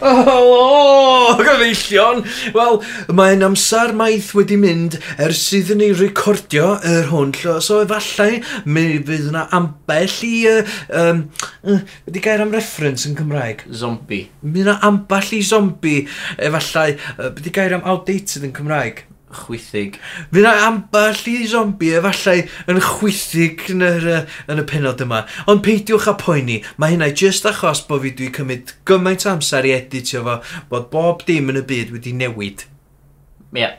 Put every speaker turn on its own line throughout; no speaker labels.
O, gyfeillion! Wel, mae'n amser maith wedi mynd ers iddyn ni recordio yr hwn llo, so efallai mi fydd yna ambell i... yy, yym, yy, Wedi gair am reference yn Cymraeg.
Zombie.
Mi yna ambell i zombi, efallai, yy, wedi gair am outdated yn Cymraeg.
Chwythig.
Fi na amball i zombi efallai yn chwythig yn yr, yy, yn y penod yma. Ond peidiwch â poeni, mae hynna jyst achos bod fi dwi cymryd gymaint o amser i editio fo, bod bob dim yn y byd wedi newid.
Ie. Yeah.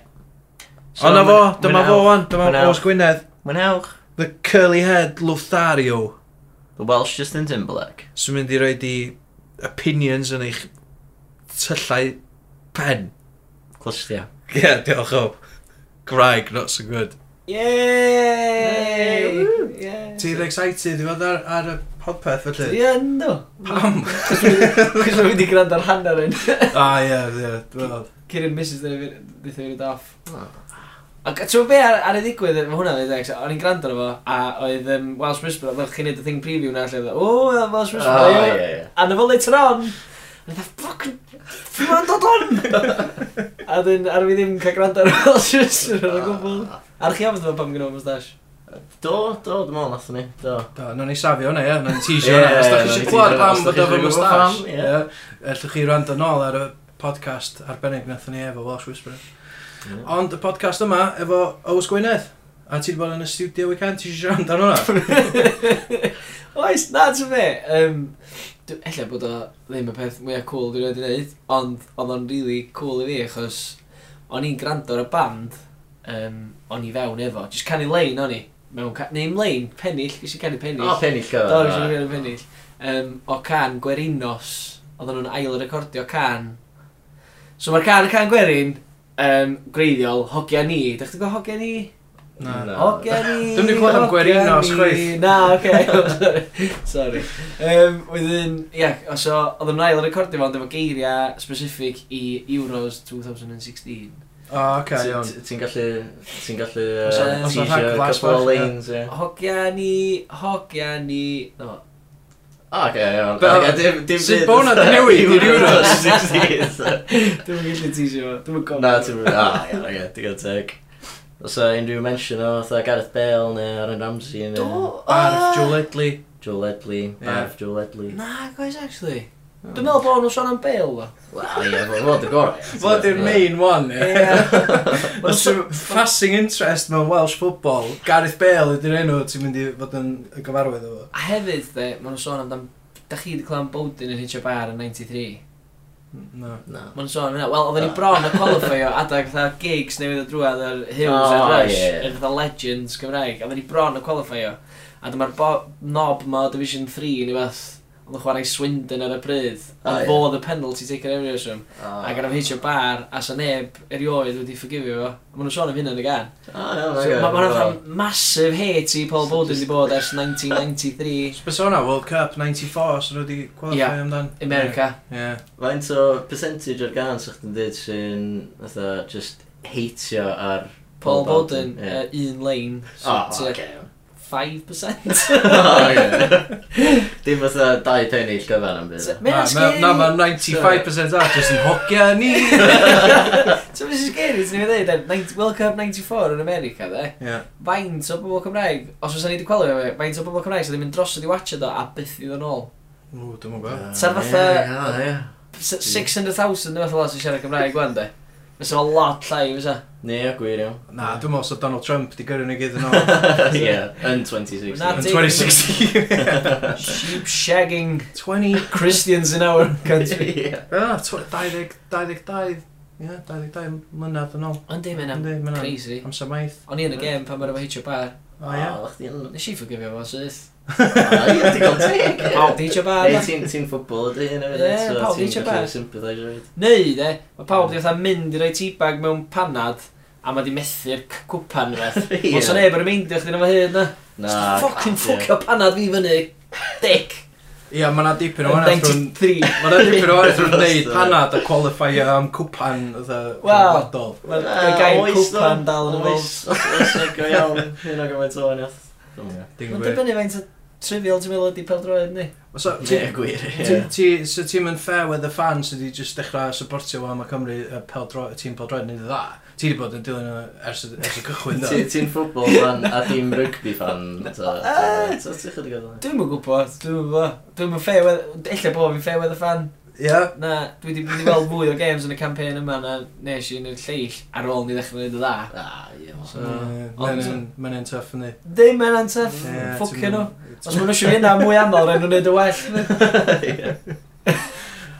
So, Ond na fo, dyma fo wan, dyma Os Gwynedd,
Mwynewch.
the curly head Lothario,
The Welsh Justin Timberlake.
sy'n mynd i roed i opinions yn eich tyllau pen.
Clystia.
Ie, yeah, diolch o. Graig, not so good.
Yay!
Ti'n excited i fod ar, ar y podpeth felly?
Ie, ynddo.
Pam?
Cos fi wedi gwrando ar hanner yn.
Ah, ie, ie, wel.
Cyrin Mrs. Ddyth fi wedi off. Ac ti'n gwybod be ar, ar y digwydd efo hwnna dweud eich, o'n i'n gwrando arno fo, a oedd um, Welsh Whisper, fel chi'n neud y thing preview na, lle, e, o, Welsh Whisper,
O,
ie.
ie, ie.
e? A na fo later on, a dda, ffoc, ffyn ma'n dod on! a dyn, ar fi ddim cael gwrando ar Welsh Whisper ar y gwbl. Ar chi ofyn pam gynnu mustache?
Do, do, dim ond nath ni. Do.
Do, nawn ni safio hwnna, ie, nawn ni teisio
Ie,
hwnna. Os da
nawn
chi
ni
eisiau clywed pam
teisio hwnna, os
bod efo
dach chi isio gwbod
moustache,
pam, ie.
ie, ellwch chi rand yn ôl ar y podcast arbennig nathon ni efo Welsh Whisperer.
Ie.
Ond y podcast yma efo Ows Gwynedd. A ti wedi bod yn y studio weekend, ti eisiau rand ar hwnna?
Oes, na, ti'n fe. Um, Ella bod o ddim y peth mwyaf cool dwi'n wedi gwneud, ond oedd o'n really cool i fi, achos o'n i'n gwrando ar y band, um, o'n i fewn efo, jyst canu lein o'n i, mewn ca... neu'n lein, pennill, gysi canu pennill.
O, pennill
Do,
cyfan.
gysi canu pennill. Um, o can Gwerinos, oedd nhw'n ail recordio can. So mae'r can y can Gwerin, um, greiddiol, hogia ni, dach chi'n gwybod hogia ni?
Na.
Ogeri!
Dwi'm 'di clywed am Gwerinos chwaith.
Na, oce. Sorry. Um, Wedyn, ie, yeah, so, oedd yn ail recordio fond efo geiriau specific i Euros 2016.
O, oce,
Ti-
iawn.
ti- Ti'n gallu... Ti'n gallu...
Os
uh,
a- os a
teisio
rhag glas
couple
bach,
o
ie.
lanes, ie.
Hogia ni, hogia ni... No.
O, oce, iawn.
Be-
Oce, dim- dim
Sut
byd
bo' hwnna 'di
fatha
newid i'r Euros?
2016, so.
Dwi'n yn gallu tisio fo, dwi'n yn
Na,
gofio.
ti'n... O, iawn, oce, digon teg. Os a unrhyw mention o fatha Gareth Bale neu Aaron Ramsey neu...
Barth, Joe Ledley.
Ah, Joel Edley,
Ie.
Barf Joel Edley.
Na, guys, actually.
Oh.
Dwi'n meddwl bod nhw'n sôn am Bale, fo.
Wel, ie, fo- fod y gorau.
Fod yw'r main one, ie.
Ma'n
Os yw'r passing interest mewn Welsh football, Gareth Bale ydy'r enw ti'n mynd i fod yn y gyfarwydd o fo.
A hefyd, de, maen nhw'n sôn amdan... Da chi wedi clywed am Bowden yn hitio bar yn 93?
No.
Na.
Mae'n sôn hynna, wel, oedden ni
Ah.
bron yn qualifio adag fatha gigs newydd o drwad ar Hughes
Oh,
oh, Rush,
ie.
yr fatha Legends Cymraeg, oedden ni bron yn qualifio. A dyma'r bo- knob ma o Division 3 neu beth, oedd yn chwarae Swindon ar y bryd,
Oh, ie.
ond fo oedd y penalty taken every awesome.
Ah.
Ac yn amheisio bar, a sa neb erioed wedi ffogifio fo. Mae nhw'n sôn am hynna yn y gan.
Ah, iawn,
So,
oce,
Mae ma
wel.
nhw'n massive hate i Paul Bowden wedi bod ers 1993,
Spesona World Cup 94, sy'n wedi qualify
Ie.
amdan.
America.
Ie.
Faint o percentage o'r gan sa'ch chi'n dweud sy'n fatha just heitio ar
Paul Bowden,
Ie.
yy, un lein,
O,
so tua
oce.
5%.
O, Ah, ie. Dim fatha dau pennill gyfan am byd.
Mae'n
Na,
scary.
ma- Na, mae 95% ar jyst yn hogia ni.
So mae'n scary, ti'n ei wneud, er, 90 World Cup 94 yn America, dde.
Ie.
Faint o bobl Cymraeg, os oes ni wedi gweld fe, faint o bobl Cymraeg sydd ddim yn drosod i watcha do a byth i ddod nôl.
Ww, dwi'n gwybod.
Sa'r fatha-
Ie, ie.
S- 600,000 neu fath o lot sy'n siarad Cymraeg gwan, de. Fysa fo lot llai, fysa.
Ne, o gwir iawn.
Na, dwi'n meddwl sydd Donald Trump di gyrru ni gyd yn ôl.
Ie, yn 2016.
Na,
Yn
di-
2016.
Sheep shagging
20...
Christians in our country.
Ie.
Ah, 20 22... Ie, 22 mlynedd yn ôl.
Ond dim yna,
Yndi, ma' hwnna'n-
crazy.
Amser maith.
O'n i yn y gem pan mae'r efo hitio bar.
O, ie.
O, chdi yn-
Nes i ffogifio fo, syth.
O, ie, digon teg, ie.
Pawb di hitio bar.
Neu
na.
ti'n ti'n ffwbol ydy hyn
Ie,
hefyd, so
pawb di
ti'n
hitio
gallu
bach.
sympathise rhaid.
Neu, de, mae pawb di fatha mynd i roi teabag mewn panad a mae di methu'r c- cwpan rhywbeth.
Ie.
Os o'n neb yn ymeindio chdi na fo hyd na.
Na.
Ffocin
ie.
ffwcio panad fi fyny. Dic.
Ie, mae yna dipyn o
Yn
hwnna drwy'n...
93.
Mae yna dipyn o hwnna drwy'n neud panad a qualify am cwpan ydw
Wel.
gwladol.
Wel,
Na,
y gair
oes,
cwpan
do.
dal yn ymwneud.
Oes, oes, oes, go iawn. Hyn o gymaint o waniaeth.
Dwi'n
Mae'n
gwybod.
dibynnu faint o trivial ti'n meddwl ydi peldroed ni.
So, ti-
Ie, gwir, ie.
ti- ti- So ti'n mynd fair with the fans sydd just dechrau supportio Wama Cymru y peldro- y tîm peldroed neu dda. Ti wedi bod yn dilyn nhw ers y ers y cychwyn
Ti-
do?
Ti'n ffwbol fan a dim rygbi fan. ta- ta- ta- Ah, Ti'n chydig o
Dwi'n mwyn gwybod, dwi'n mwyn gwybod. Dwi'n mwyn fair weather, ella bod fi'n fair weather fan.
Ie.
Na, dwi wedi mynd i weld mwy o games yn y campaign yma na nes i'n y lleill ar ôl ni ddechrau wneud y dda.
Ah, ie. wel.
So, ond-
Mm, Mae'n un tough yn di.
Ddim yn antef,
Ie,
ffocio
ti'n-
nhw. Os maen nhw eisiau hynna mwy aml, rhaid nhw'n neud y well.
Ie.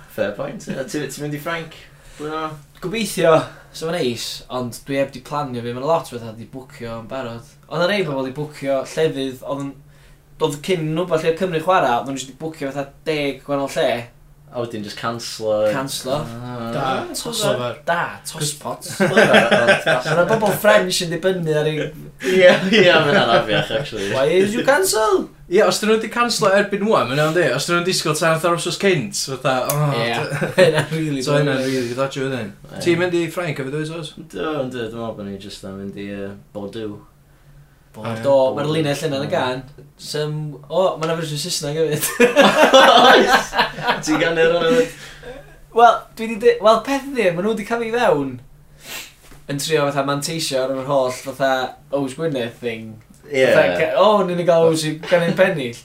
Fair point. ie. Ti- Ti'n mynd i Frank? Blwyddyn yma?
Gobeithio, so mae'n neis, ond dwi heb di planio fi, mae'n lot o bethau di bwcio yn barod. Ond ar ei bobl di bwcio llefydd, oedd yn... Doedd cyn nhw bod lle Cymru chwarae, oedd nhw'n jyst 'di bwcio fatha deg gwahanol lle.
A wedyn just canslo. Ah.
Canslo.
Da,
Ah,
toso fer.
Da, tospots. Mae'n
Canslo.
bobl French yn dibynnu ar ei...
Ie, ie, mae'n anafiach, actually.
Why is you cancel?
Ie, os dyn nhw wedi canslo erbyn wan, mae'n iawn di. Os dyn nhw'n disgwyl tan athar osos cynt, fatha, o,
Ie,
Ah, d-
hynna'n rili...
So hynna'n rili, ddodgio hynny.
Ie.
Ti'n mynd i Ffrainc efo dwi, os?
Do, yndw, dwi'n meddwl bod ni jyst yn mynd i uh, Bordeaux.
Do, mae'r linell yna'n y gan. Sym... O, mae'n fersiwn Saesneg hefyd.
Oes! Ti'n gan yr hwnnw?
Wel, dwi wedi... De... Wel, peth ydi, maen nhw wedi cael fi fewn. Yn trio fatha manteisio ar yr holl fatha Ows Gwynedd thing. Fatha,
Ie.
ca- O, ni'n ei gael Ows i gan ein pennill.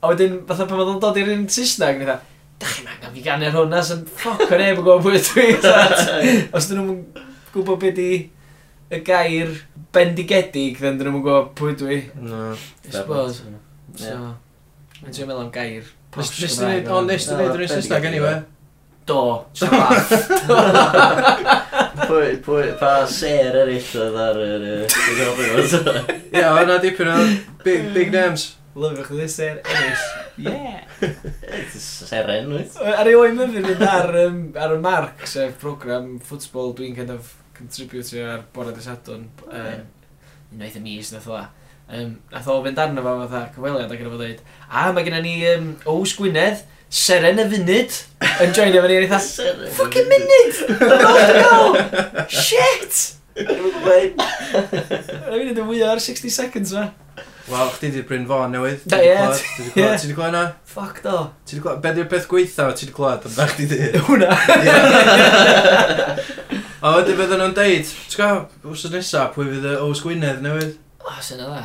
A wedyn, fatha pan oedd o'n dod i'r un Saesneg, ni'n fatha, Dach chi'n angen fi gannu'r hwnna, sy'n ffoc o'n neb yn gwybod bwy dwi. fatha. Os dyn nhw'n gwybod beth i y gair bendigedig, then dyn nhw'n gwybod pwy dwi.
No.
I suppose. So, Mae'n trio meddwl am gair. posh
Nes nes ti
Gymraeg.
neud, o, nes ti
No,
neud yn
bendigedig,
Saesneg anyway.
Do. jyst laugh.
Pwy, pwy, pa ser eraill oedd ar yr... yy, Dwi'n gwybod beth oedd.
Ie, o, na dipyn o big, big names.
Lyfio chdi ser ennill. Yeah.
Seren, wyt?
Ar ei oen myfyn mynd ar, um, ar y marc, sef program ffwtbol dwi'n kind of contributio ar bore dy sadwn. Um, Unwaith y mis, nath o dda. Um, nath o fynd arno fo fatha cyfweliad ac yn fo dweud A mae gennym ni um, Ows Gwynedd, Seren y Funud yn joinio fan i'n eitha
Seren.
Fucking munud! Oh, no! Shit! Rwy'n mynd y mwyaf ar 60 seconds ma.
Wel, chdi di Bryn Fawn newydd.
Da,
Ti 'di
ie.
clywed? Ti 'di clywed? Ti
Ie.
'di clywed na?
Fuck do.
Ti 'di clywed? Be di'r peth gweitha o ti 'di clywed amdach chdi di?
Hwna.
A wedyn fydden nhw'n deud, ti'n gwybod, wrth nesa, pwy fydd y Ows Gwynedd newydd?
O, sy'n yna.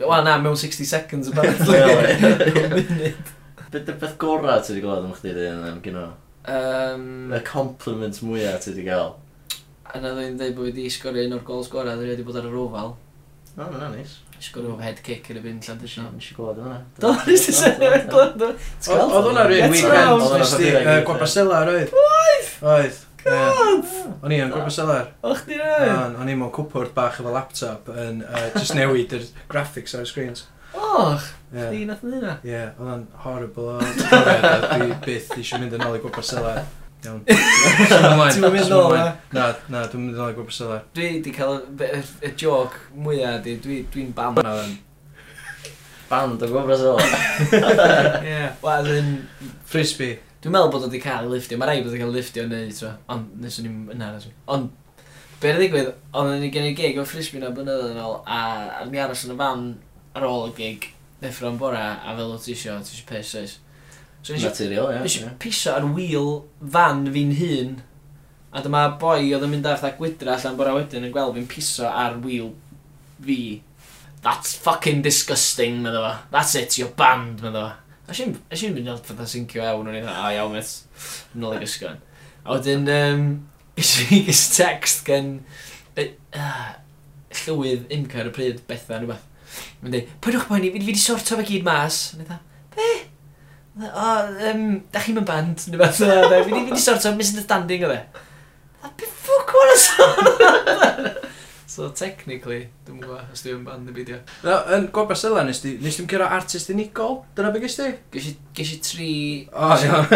Wel na, mewn 60 seconds y
Really? Beth y beth gorau ti wedi gweld am chdi dyn am gyno?
Um,
Y compliment mwyaf ti wedi gael.
Yna ddwy'n dweud bod wedi sgorio un o'r gols gorau, ddwy wedi bod ar y rofal.
O, na, nis.
Sgorio fo head kick yn y byn llan dysio.
Nes i gweld hwnna.
Do, nes i sy'n gweld.
O- Oedd hwnna
Get
rhywun
round.
weekend,
Oedd hwnna
nes ti
rhywun
yy,
weekend.
Gwabasela, roedd? Oedd. Oedd. O'n i yn Gwabasela.
Och di na.
O'n o'n i mewn cwpwrdd bach efo laptop yn uh, just newid yr graphics ar y screens.
Och,
Ie,
di nath yn hynna.
Ie, oedd o'n horrible o profiad a dwi byth eisiau mynd yn ôl i Gwabasela. Iawn.
Ti'm yn mynd nôl,
na? Na, na, dwi'n mynd yn ôl i Gwabasela.
Dwi wedi cael y- be- y y joc mwyaf di, dwi- dwi'n bam.
Na, then.
Band o gwybod sôl.
Ie. Wel, as in,
Frisbee.
Dwi'n meddwl bod o wedi cael ei liftio, mae rai bod wedi cael ei liftio yn neud, twa. ond nes o'n i'n yna nes i. Ond, be rydw digwydd, ond o'n i gen i gig o frisbee na blynyddoedd yn ôl, a a ni aros yn y fan ar ôl y gig, ddeffro yn bora, a fel o ti isio, ti isio piss, oes. So nes i-
Naturiol,
nes
ie.
i piso ar wheel fan fi'n hun, a dyma boi oedd yn mynd ar fatha gwydra allan bora wedyn yn gweld fi'n piso ar wheel fi. That's fucking disgusting, medda fo. That's it, you're banned, medda fo. Nes i'n mynd i'n fatha sincio ewn o'n i'n dda, a iawn met, yn ôl i gysgon. A wedyn, um, eisiau i gys text gen y- ah, llywydd imca ar y pryd, Betha, neu beth. Mae'n dweud, pwydwch boeni, fi fi wedi sorto fe gyd mas. Neu dda, be? Dda, O, um, da chi'n mynd band, neu beth. Dda, dda, Fi wedi fi wedi sorto misunderstanding o fe. Dda, be ffwc o'n ysgol? So, technically, dwi'n gwybod, os dwi'n band neu beidio.
Na, yn Gwabasela nes ti- nes ti'n cyrra artist unigol? Dyna be gysdi?
Ges i, ges i tri...
O, iawn.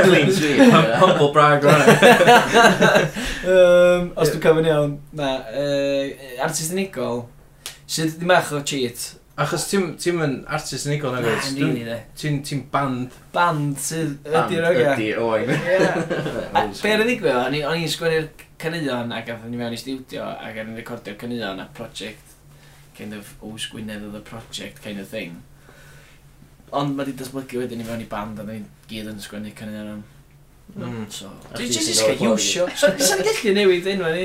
Clean sweep. ie.
Humble brag o'n hynny.
um, os dwi'n cofyn iawn, na, uh, artist unigol, sydd ddim eich o cheat.
Achos ti'm ti'm yn artist unigol na
Na, yn
gwrs.
rili de.
Ti'n ti'n band.
Band sydd
Band
ydy'r ogia.
Ydi, oen.
A Be ar y ddigwydd, o'n i- o'n i'n sgwennu'r caneuon ac athyn ni mewn i studio ac o'n i'n recordio'r caneuon a project kind of Ows Gwynedd oedd y project kind of thing. Ond mae di datblygu wedyn i fewn i band a ni gyd yn sgwennu cynnydd yn
Mm.
So...
A
Dwi
chdi
jyst
sy'n
eisiau
gorfod
cael iwsio. So, Sa'n gallu newid enw ni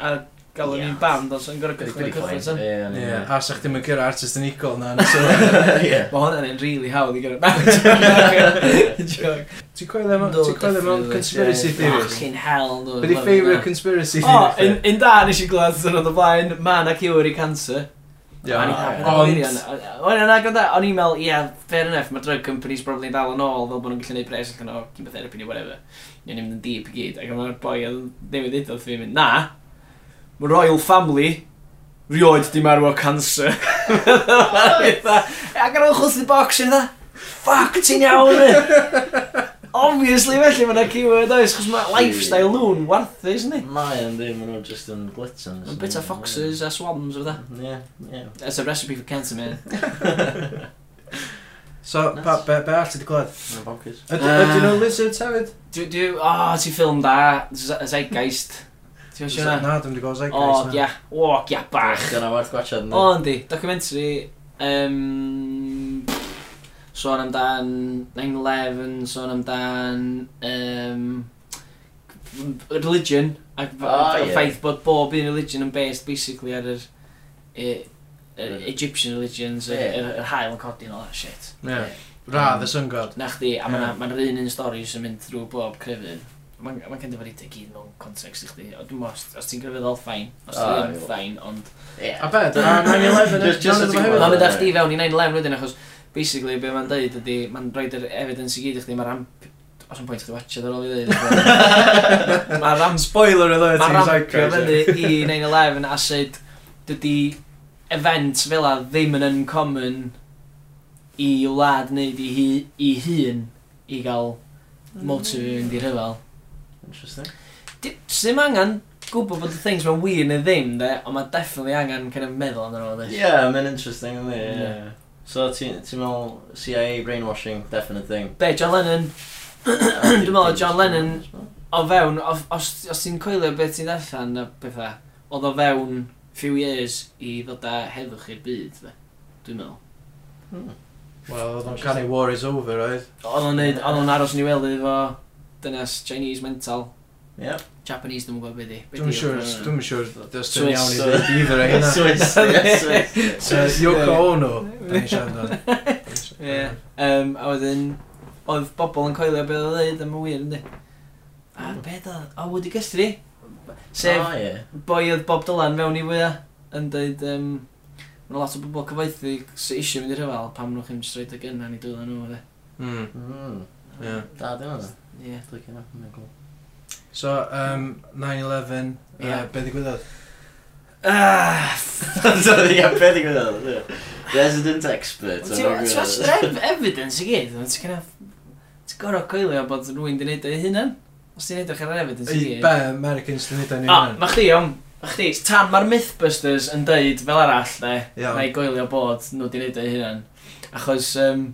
a gael o'n
Ie.
i'n band ond sa'n gorau
Liquid
cychwyn y cychwyn
Decline.
sy'n.
Ie,
Ie,
ie.
a sa'ch ddim yn gyrra artist yn equal na.
Ie.
Mae hwnna'n un really hawdd i gyrraedd mewn. Joke.
Ti'n coelio mewn- ti'n coelio mewn conspiracy theories?
Fucking hell. no,
Be di
love it, Oh,
favourite
na.
conspiracy
O,
theory?
un- un da nes i glad sy'n oedd o blaen, ma na cure i cancer.
Iawn.
O'n i'n-
Ond,
O'n i'n agor da, e, o'n i'n meddwl, ie, fair enough, mae drug companies probably yn dal yn ôl fel bod nhw'n gallu gwneud pres allan o chemotherapy neu whatever. Ni'n mynd yn deep i gyd, ac mae'r boi yn newid edo wrth fi'n mynd, na, mae Royal Family rioed di marw o cancer. Ac ar ôl chwth i box yn dda, ffac ti'n iawn e! Obviously felly mae yna keyword oes, chos mae lifestyle nhw'n warthus ni.
Mae yn ddim, maen nhw just yn glitons.
Mae'n bit o foxes a swans o dda.
Ie, ie.
That's a recipe for cancer, man.
so, pa- be be arall ti di gled?
Mae'n bonkers.
Uh,
Ydyn nhw lizards hefyd?
Dwi, dwi, o, oh, ti ffilm da, Z- Zeitgeist. Ti'n siŵr Oh, na?
Na, dwi'n di gweld
O,
zeitgeist na.
ia, o, ia, bach.
Dyna werth gwachod yn
O, yndi, documentary, um, sôn amdan 9-11, sôn amdan, um, religion, ac f-
Ah,
y
ie.
ffaith bod bob un religion yn based basically ar yr, e- yr
Ie.
Egyptian religions, yr
Ie.
yr- yr hael yn codi yn all that shit.
Ie.
Mm.
Ra, the sun god.
Na chdi, a
Ie.
mae'n ma un un stori sy'n mynd drwy bob crefydd. Mae'n ma cynnyfarita gyd mewn context i chdi. O, Dwi'n meddwl, os- os ti'n grefydd ol ffain, os
O,
ti'n
ie.
grefydd ffain, ond...
Ie.
A be, a 9-11 none of
Just- just as you
them
were.
uh, hefyd?
Mae'n mynd â
ie.
chdi fewn i 9-11 wedyn, achos basically be mae'n dweud ydy, mae'n rhoi yr evidence i gyd i chdi, mae'n ramp... Os yn pwynt chdi watcha ar ôl i ddweud. Mae'n ramp...
Spoiler alert,
Mae'n
ti'n
rampio
zeitgeist.
fyny i 9-11 a sut dydy event fel a ddim yn uncommon i wlad neu i, hu- i hun i gael motive i fynd i'r hyfel.
Interesting.
Sym angen gwybod bod y things mae'n wir neu ddim, de, ond mae definitely angen kind of meddwl amdano fo,
Ie,
de.
yeah, mae'n interesting yn ie.
Ie.
So ti'n ti meddwl CIA brainwashing, definite thing.
Be, John Lennon, Dwi'n meddwl John Lennon- o fewn, of- os, os ti'n coelio beth ti'n allan a bethau, oedd o fewn few years i ddod â heddwch i'r byd, de. Dwi'n meddwl.
Hmm.
Wel, oedd o'n canu War is Over, oedd?
Oedd o'n neud, oedd o'n aros yn ei wely efo dynas Chinese mental,
Ie.
Japanese ddim yn gwybod beth i.
Dwi'n siŵr, dwi'n siŵr, dwi'n siŵr
Swiss,
iawn i
so-
ddweud either o hynna.
Swiss, ie, Swiss.
So, Yoko Ono, da ni siarad o'n.
Ie. Um, a wedyn, oedd bobl yn coelio beth oedd ddeud am y wir, ynddi? A beth oedd, o, Woody Guthrie. Sef,
Ah, ie.
boi oedd Bob Dylan mewn i fwyaf, yn dweud, um, Mae lot o bobl cyfoethu sy'n eisiau mynd i'r hyfel pam nhw'n chi'n straight ag yna ni dwylo nhw, fe.
Mm,
Mm.
ie.
Da, dyna da.
Ie.
Dwi'n meddwl, mae'n cool.
So, um, 9-11,
Ie.
uh, be ddigwyddodd?
Ah,
Ie, beth i'n gwneud? Resident expert.
Ti'n gwybod, evidence i gyd, ond ti'n gwybod, ti'n gorau coelio bod rhywun di neud o'i hunan? Os ti'n edrych ar yr evidence i
Ei,
gyd.
Be, Americans dyn ni dyn
O,
ni'n
Ah, ma chdi iawn, ma chdi, tan mae'r Mythbusters yn deud fel arall, ne,
Iawn.
na i goelio bod nhw di neud o'i hunan. Achos, um,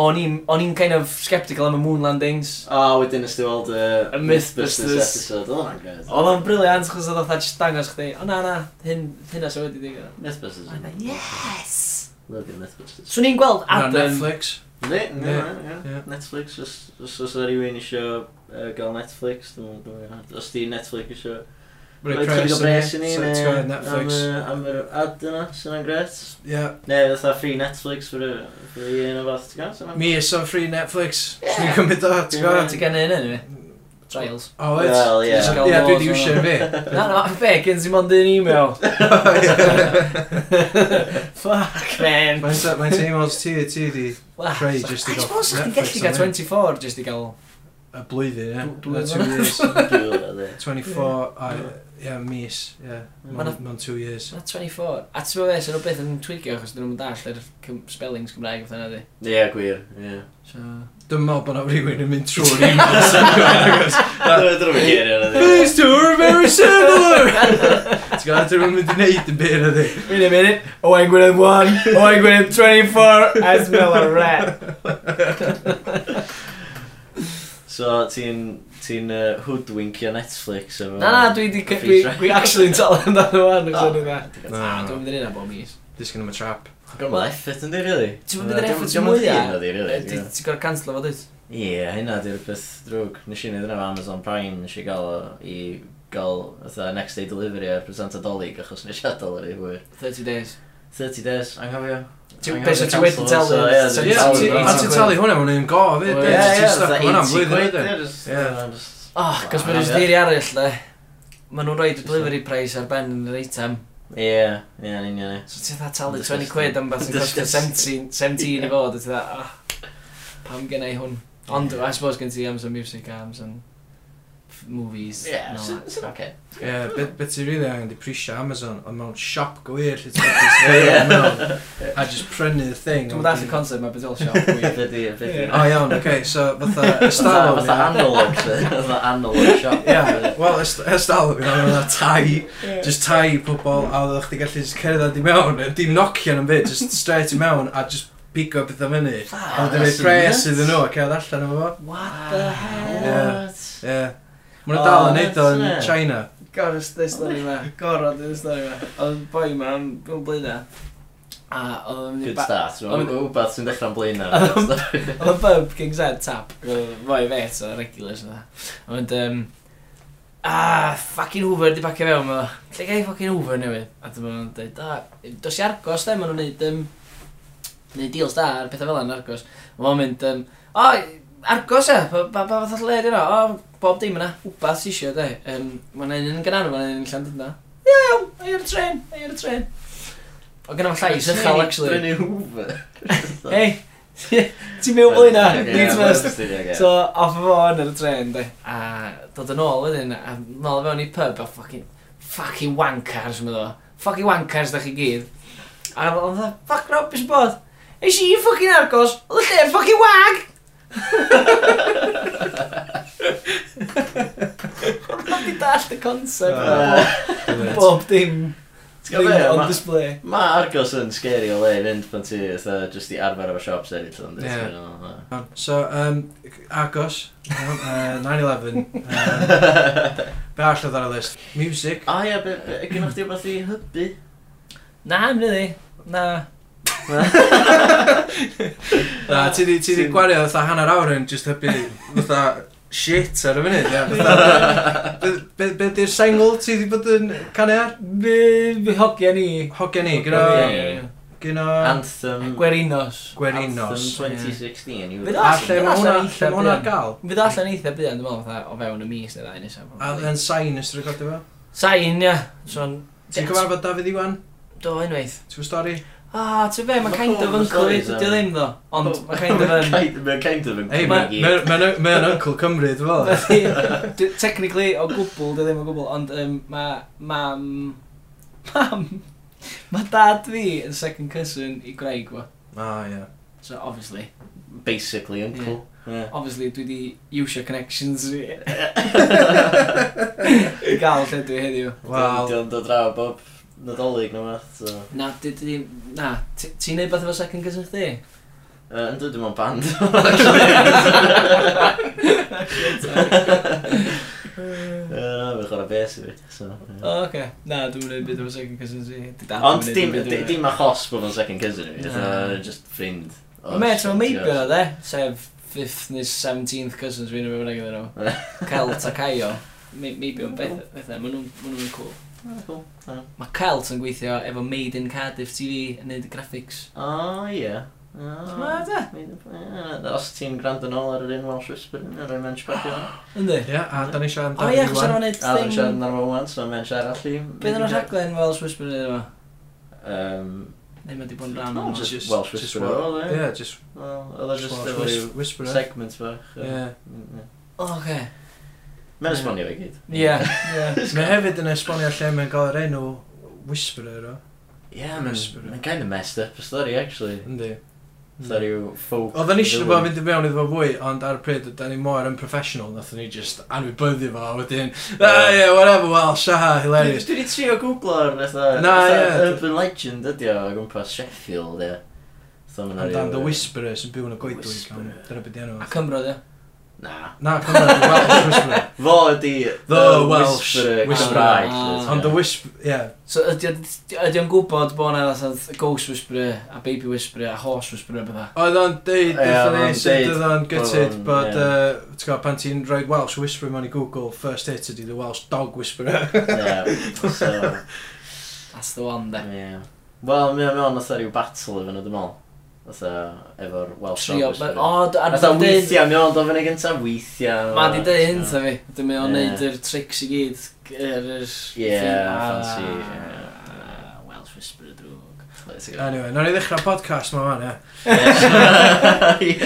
o'n i'n o'n i'n kind of sceptical am y moon landings.
O, wedyn ysdi weld y
Y Mythbusters.
episode. Oh Oedd hwnna'n good.
Oedd o'n briliant, achos oedd o'n just dangos chdi, o na na, hyn, hyn as o wedi digwydd.
Mythbusters.
A na, yes!
Love your Mythbusters.
Swn i'n gweld Adam,
Netflix.
Ne, ne,
Ie.
ie. Netflix, os os oes rhywun eisiau gael Netflix, dwi'n meddwl, os di Netflix eisiau Rwy'n cyrraedd bres i ni,
so
neu
it's got Netflix.
am, uh, am yr ad yna, sy'n yn gret.
Ie.
Neu fatha free Netflix for y for y un o fath, ti'n gael? sy'n yn-
Mi is o'n free Netflix. Swn i'n cymryd o, ti'n gwybod?
ti gen i hyn anyway.
Mm.
Trials.
O, wyt?
Wel, ie.
So, Ie, dwi wedi iwsio fi.
Na, na, fe, gen si mond un e-mail. Fuck, man.
Mae'n te- mae'n teimlo'n ti, ti di
Wel,
Try just i
I
gael
suppose chdi'n
Netflix
gallu gael
arna.
24 just i gael...
y blwyddyn, ie?
Dw- dwy
Two
flynedd.
years.
Dwi'n gwybod, ie.
24, a, ie, mis, ie.
Ma' 'na-
Mae'n two years.
Na 24. A ti'n meddwl, sy'n nhw beth yn twigio achos dyn nhw'n dall yr cym- spellings Cymraeg oedd yna di.
Ie, gwir, ie.
So...
Dwi'n meddwl bod 'na rhywun yn mynd trwy'r emails. yn gwybod, agos.
Dwi'n drwy'n gerio yna, ie.
These two are very similar! Ti'n gwybod, dwi'n mynd i wneud yn byd ydi.
Wait a minute. Oh, Owain Gwynedd 1, Owain Gwynedd 24, I smell a rat.
So, ti'n ti'n uh, hoodwinkio Netflix efo... Ah,
Na, na, dwi di... Dwi, dwi actually'n tal amdano fan,
O.
achos o'n i'n dda.
Na.
Dwi'n mynd i'n un a bob mis.
Disgyn am y trap.
Gwrm o effort yn di, really.
Ti'n mynd i'r effort
Gwrm o
mwyaf?
di, really.
Ti'n gorau cancelo fo, dwi?
Ie, hynna di'r peth drwg. Nes i wneud yna efo Amazon Prime, nes i gael o i gael fatha next day delivery ar present adolyg achos nes i adael ar ei hwyr.
30 days.
30 days, anghofio.
Ti'n
Anghofio
besio, ti'n
cancel,
wedyn talu.
so, ie,
Ie,
dwi'n
yeah,
talu,
ti-
bro.
a ti'n talu hwnna mewn un go
Ie,
fyd.
ie,
Ie, ti'n
fatha
stuck hwnna am
80
flwyddyn
quid,
wedyn.
ie, just-
Ie.
yeah, just-
Oh, cos mae'n
Ie.
rhywbeth arall, le. Maen nhw'n rhoi delivery price ar ben yr item.
Ie, ie, yn union, ie.
So ti'n dda talu 20
Disgusting.
quid am beth yn costio
Disgusting.
17, 17 i fod, a ti'n dda, ah, pam gen i hwn. Ond, I suppose gen ti Amazon Music, a Amazon f- movies.
Ie,
and all
sy'n
that.
sy'n oce.
Ie, beth be ti'n rili angen di prisio Amazon, ond mewn siop gwir lle ti'n prisio A just prynu y thing.
Dwi'n dall y concept, mae beth o'r siop wir.
Fyddi, fyddi.
O Oh, iawn, oce, okay, so fatha
Fatha
ystalwm.
fatha analog, sy- fatha analog shop.
Ie, wel, ys- ystalwm, you know, fatha tai, just tai pobol, a oedd chdi gallu just cerdded i mewn, a dim nocio yn byd, just straight i mewn, a just bigo beth am hynny. A wedyn ei pres iddyn nhw, a cerdd allan efo fo.
Ah, What the
Ie.
hell?
Ie. Mae'n dal yn neud o yn
Oh, that's it.
China.
Gorau stori stori yma, gorau stori stori yma. Oedd boi yma am dwi'n blynedd. A oedd o'n mynd i
Good
ba-
start,
Ond-
rhywbeth sy'n dechrau'n blaen
Ond-
na.
Oedd y pub King Z tap, fwy fet o regulars yna. Ond, um, a, ffucking Hoover di bacio fewn, ma, lle gai ffucking Hoover newydd? A dyma nhw'n dweud, a, dos i Argos, de, ma nhw'n neud, um, neud deals da, ar pethau fel yna yn Argos. Ma nhw'n mynd, um, o, Argos e, pa pa- pa fath o lle di yna, o, bob dim yna, wbath sy isio, de. Um, ma nhw'n un yn gynnar, ma nhw'n un llan dyna. Ie, iawn, ai ar y tren, ai ar y tren. O, gynnar llais ychel, actually.
Brynu Hoover.
Hei, ti'n mewn blaen na, needs must.
So,
So, off of on ar y tren, de. A dod yn ôl wedyn, a nôl fewn i pub, a fucking, fucking wankers, mynd o. Fucking wankers, da chi gyd. A oedd dda, fuck rubbish bod. Eis i fucking argos, oedd y lle'n fucking wag! Rwy'n di dallt y concept
uh,
yna. Bob dim.
Uh, Ti'n gwbod be,
thing On
ma-
display.
Mae Argos yn scary o le i fynd pan ti fatha jyst i arfer efo shops eraill ond
Ie.
ti'n meddwl,
So, um, Agos, iawn, yy, 9-11, yym,
na.
be all oedd ar y list? Music.
O Ah, ie, be- be- gynnwch chi wbeth i hybu?
Na, mynd i. Na.
Na, ti di, ti di gwario fatha hanner awr yn just hybu fatha shit ar y funud, ia. fatha- be- Be be di'r sengl ti di bod yn canu ar?
Fy fy hogia ni.
Hogan E, ni,
Hogia
gyda,
ni.
gyda
Anthem...
Gwerinos.
Gwerinos.
Anthem 2016 yw.
A
Fydd
lle mae hwnna, lle mae hwnna ar gael?
Fydd allan eitha byd yn dwi'n meddwl fatha o fewn y mis neu ddau nesaf.
A yn sain ys ti'n recordio fo?
Sain, ia. So,
Ti'n cyfarfod Dafydd Iwan?
Do, unwaith.
Ti'n gwybod stori?
Ah, ti'n fe, mae
Ma'
kind of
pobl yn
uncle i,
stories
dydi o
am-
ddim ddo. Ond, mae kind of yn...
Mae'n kind of yn...
Ei,
ma-
mae'n uncle Cymru, dwi'n fel.
Dwi- Technically, o gwbl, dy ddim o gwbl, ond um, mae mam... Mam... Mae dad fi yn second cousin i Greg, fo.
O, ie.
So, obviously.
Basically uncle. Ie.
Obviously, dwi di iwsio connections fi. I gael lle dwi heddiw.
Wel,
Dio'n dod draw bob nadolig na math, so...
Na, di, di, di, na, ti- ti'n neud beth efo second cousin chdi?
Yy, Yn dod dim ond band. Yy, Na, fi'n chwarae bes i fi, so... ie.
O, oce. Na, dwi'n neud beth efo second cousin si.
Ond dim, di- dim achos bod o'n second cousin i fi,
Na.
fatha, just ffrind. o
Met, mae'n
Oh, shit,
meibio na, de? e, Sef 5th neu 17th cousins fi'n rhywbeth nag ydyn nhw. Celt a Caio. Meibio yn beth, bethau, maen nhw'n maen nhw'n cool.
Ah, cool. Ah.
Mae Celt yn gweithio efo Made in Cardiff TV yn neud graphics.
O, ie.
Ma,
O,
de?
Ie, Os ti'n gwrando yn ôl ar yr un Welsh Whisper, yn rhoi mench bach i hwn.
Yndi?
ie, a da ni siarad
O ie,
amdano
chos arno neud
A dwi'n siarad
thing...
yn arfer wan, so mench arall i...
Bydd yna'r rhaglen Welsh Whisper yn efo?
Um,
Neu mae di bod yn rhan
No,
o'n
just-
just...
Just-
Welsh
just
Whisperer,
wel-
oedd e?
Ie, just
well, oedd e
just
just
Welsh
efo
whis-
ryw
Whisperer.
segments bach.
Ie.
Oce.
Mae'n esbonio fe gyd.
Ie, ie.
Mae hefyd yn esbonio lle mae'n gael yr enw Whisperer o.
Ie, mae'n mae'n kind of messed up y stori, actually.
Yndi.
Fatha ryw folk...
Hmm. Oedden ni eisiau bod
villain.
mynd i mewn iddo fo fwy, ond ar y pryd, da ni mor yn professional, nath ni just anwybyddu fo, a wedyn, ah, ie, whatever, well, shaha,
Dwi
hilarious.
dwi di trio googlo'r fatha...
Na,
fatha
ie.
Urban legend ydi o, o gwmpas Sheffield, ie. Fatha ma' 'na
Ond am
ryw-
the Whisperer sy'n byw yn y goedwig,
Whisperer.
e.
ond dyna beth di enw.
A Cymro, ie.
Na.
Na, Conrad the Welsh Whisperer.
Fo ydi...
The Welsh Whisperer.
Cymraeg,
Ah.
literally.
Ond the Whisper... Yeah.
So ydy o- ydy o'n gwybod bod yna fatha Ghost Whisperer, a Baby Whisperer, a Horse Whisperer, bydda?
Oedd o'n deud,
Ie,
beth o'n
oedd o'n
ei, sydd
deud-
oedd o'n gytid,
oedd o'n-
bod,
ie.
uh, ti'n gwybod, pan ti'n rhoi Welsh Whisperer mewn i Google, first hit ydi the Welsh Dog Whisperer.
Ie, so,
That's the one, de.
ie. Wel, mi o'n mewn oedd rhyw battle efo nhw, dim ol. Oedd efo'r Welsh
Trio,
Dog
but...
Whisperer.
O, d- a
Oedd o'n
dwi'n deud-
weithiau, mi o'n dod fyny gyntaf, weithiau.
Ma di dweud hyn,
so-
ta fi. Dwi'n mynd o'n
Ie.
neud yr tricks i gyd. Yr... yr
Ie,
thing.
fancy,
Ah, Welsh Whisperer drwg.
Anyway, nawn ni ddechrau podcast ma fan, ie.
Ie.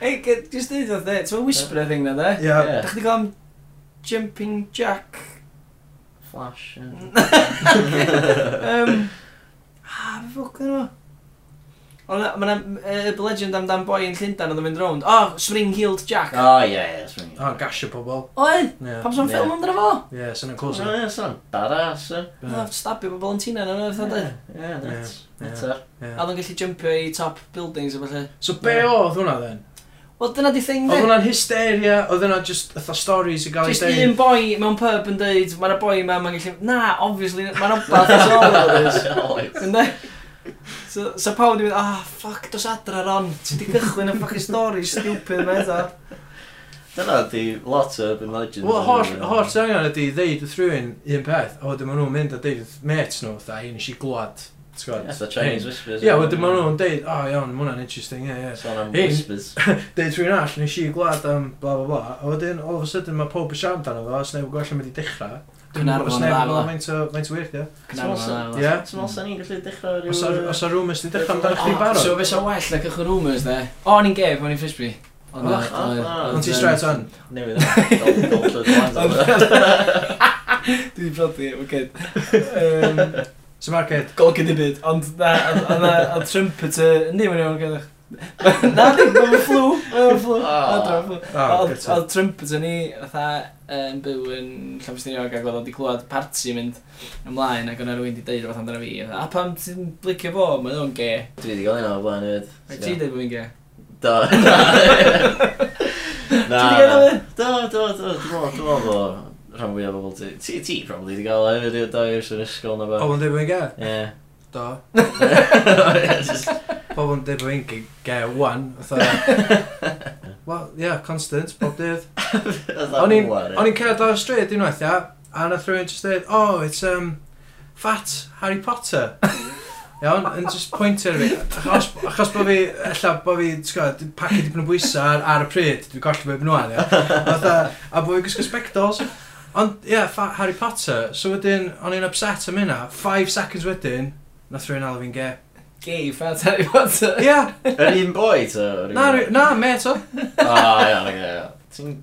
Ei, ge- jyst dweud oedd e. Ti'n Whisperer thing na, de?
Ie.
Ie.
Dach chi gael am Jumping Jack?
Flash, ie.
Um, ah, fe ffwc dyn nhw? Ond mae'na legend amdan boi yn Llundain oedd yn mynd rownd. O, Spring-Heeled Jack.
O, ie, ie, swing.
O, gasio pobol.
Oedd,
Ie.
pam sy'n
Ie.
ffilm amdano fo?
Ie, sy'n yn
O,
close.
ie, son. Badass, ie.
Oedd o'n stabio pobl yn tina na, oedd o'n dweud.
Ie, nuts.
Ie, ie.
Nutter.
A oedd o'n gallu jumpio i top buildings a falle.
So be oedd hwnna, then?
Wel, dyna di thing,
Oedd
de.
hwnna'n hysteria, oedd hwnna just, ytho stories i gael ei
Just
deud.
un boi mewn pub yn dweud, mae'na boi yma, mae'n gallu... Na, obviously, mae'n obath as all of this. Ynddo? So, so pawb wedi mynd, ah, oh, ffuck, dos adra Ron, ti di gychwyn y ffucking stori stupid yma eto.
Dyna di lot o urban legend.
Wel, holl, holl sy'n angen ydi ddeud wrth rhywun un peth, a wedyn maen nhw'n mynd a deud wrth mates nhw, dda, hyn eisiau glwad. T'w gwbod?
That's the Chinese whispers.
Ie, wedyn maen nhw'n deud, o iawn, ma hwnna'n interesting, ie, ie.
Son am
Hyn.
whispers.
Deud rhywun all, nes i glad am bla bla bla, a wedyn, all of a sudden, mae pob y siarad amdano fo, os neb yn gwella mynd i dechrau.
Cynarfon
Os
yn
neb
dda,
yn
fela.
gwella faint o- faint o weird, ie.
Cynarfon.
Ie.
Ti'n meddwl sa'n ni'n gallu dechrau rhyw...
Os ar- Os ar rumours di dechrau amdano chdi
Oh, so
barod.
fe sa'n well na cychwyn rumours, de. O, o'n i'n gef, o'n i'n frisbee. Ah, Ond
O,
na,
o,
oedd-
o.
Ond ti
yym,
straight on.
Newydd yma. Don't llyd lans
Dwi wedi brodi, mae'n gyd.
So mae'r kid.
Golgyd i byd, ond na, a- a- a- a trumpeter, ni mae'n iawn gyda'ch. Na, di, mae'n fflw, mae'n fflw,
Ah.
mae'n fflw.
O,
Oedd
gyda.
oedd Trumpet yn ni, fatha yn byw yn Llafestiniog ac oedd wedi clywed parti mynd ymlaen ac oedd rhywun wedi deud rhywbeth amdano fi. fatha, A pam ti'n blicio fo, mae o'n ge.
Dwi wedi gael un o'r blaen hefyd.
Ac ti'n deud bod fi'n ge.
Do. Na.
Ti 'di gael un?
Do, do, do. Dwi'n meddwl- dwi'n meddwl bod rhan fwyaf o bobl ti... Ti, ti, probably wedi gael o hefyd i'r dau i'r sy'n ysgol na
O,
bo.
ond dweud bod fi'n gael?
Ie.
Do.
Just-
Pobl yn dweud bod fi'n g- gael wan. Wel, ie, constant, bob dydd. O'n i'n- O'n i'n cerdd o'r stryd unwaith, ia, a nath rhywun just dweud, oh, it's um, fat Harry Potter. Iawn, yn just pointer fi. Achos, achos bod fi, ella, bod fi, ti'n gwybod, pacio dipyn o bwysau ar, ar y pryd, dwi'n golli bod fi'n nhw'n, ia. Fatha, a bod fi'n gwisgo spectols. Ond, ia, yeah, Harry Potter, so wedyn, o'n i'n upset am hynna, five seconds wedyn, nath rhywun alw fi'n ge.
Gay fat Harry Potter.
Ia, yeah,
Yr un boi, to? yr un
na,
boi?
ry- na, met o.
O, iawn, iawn.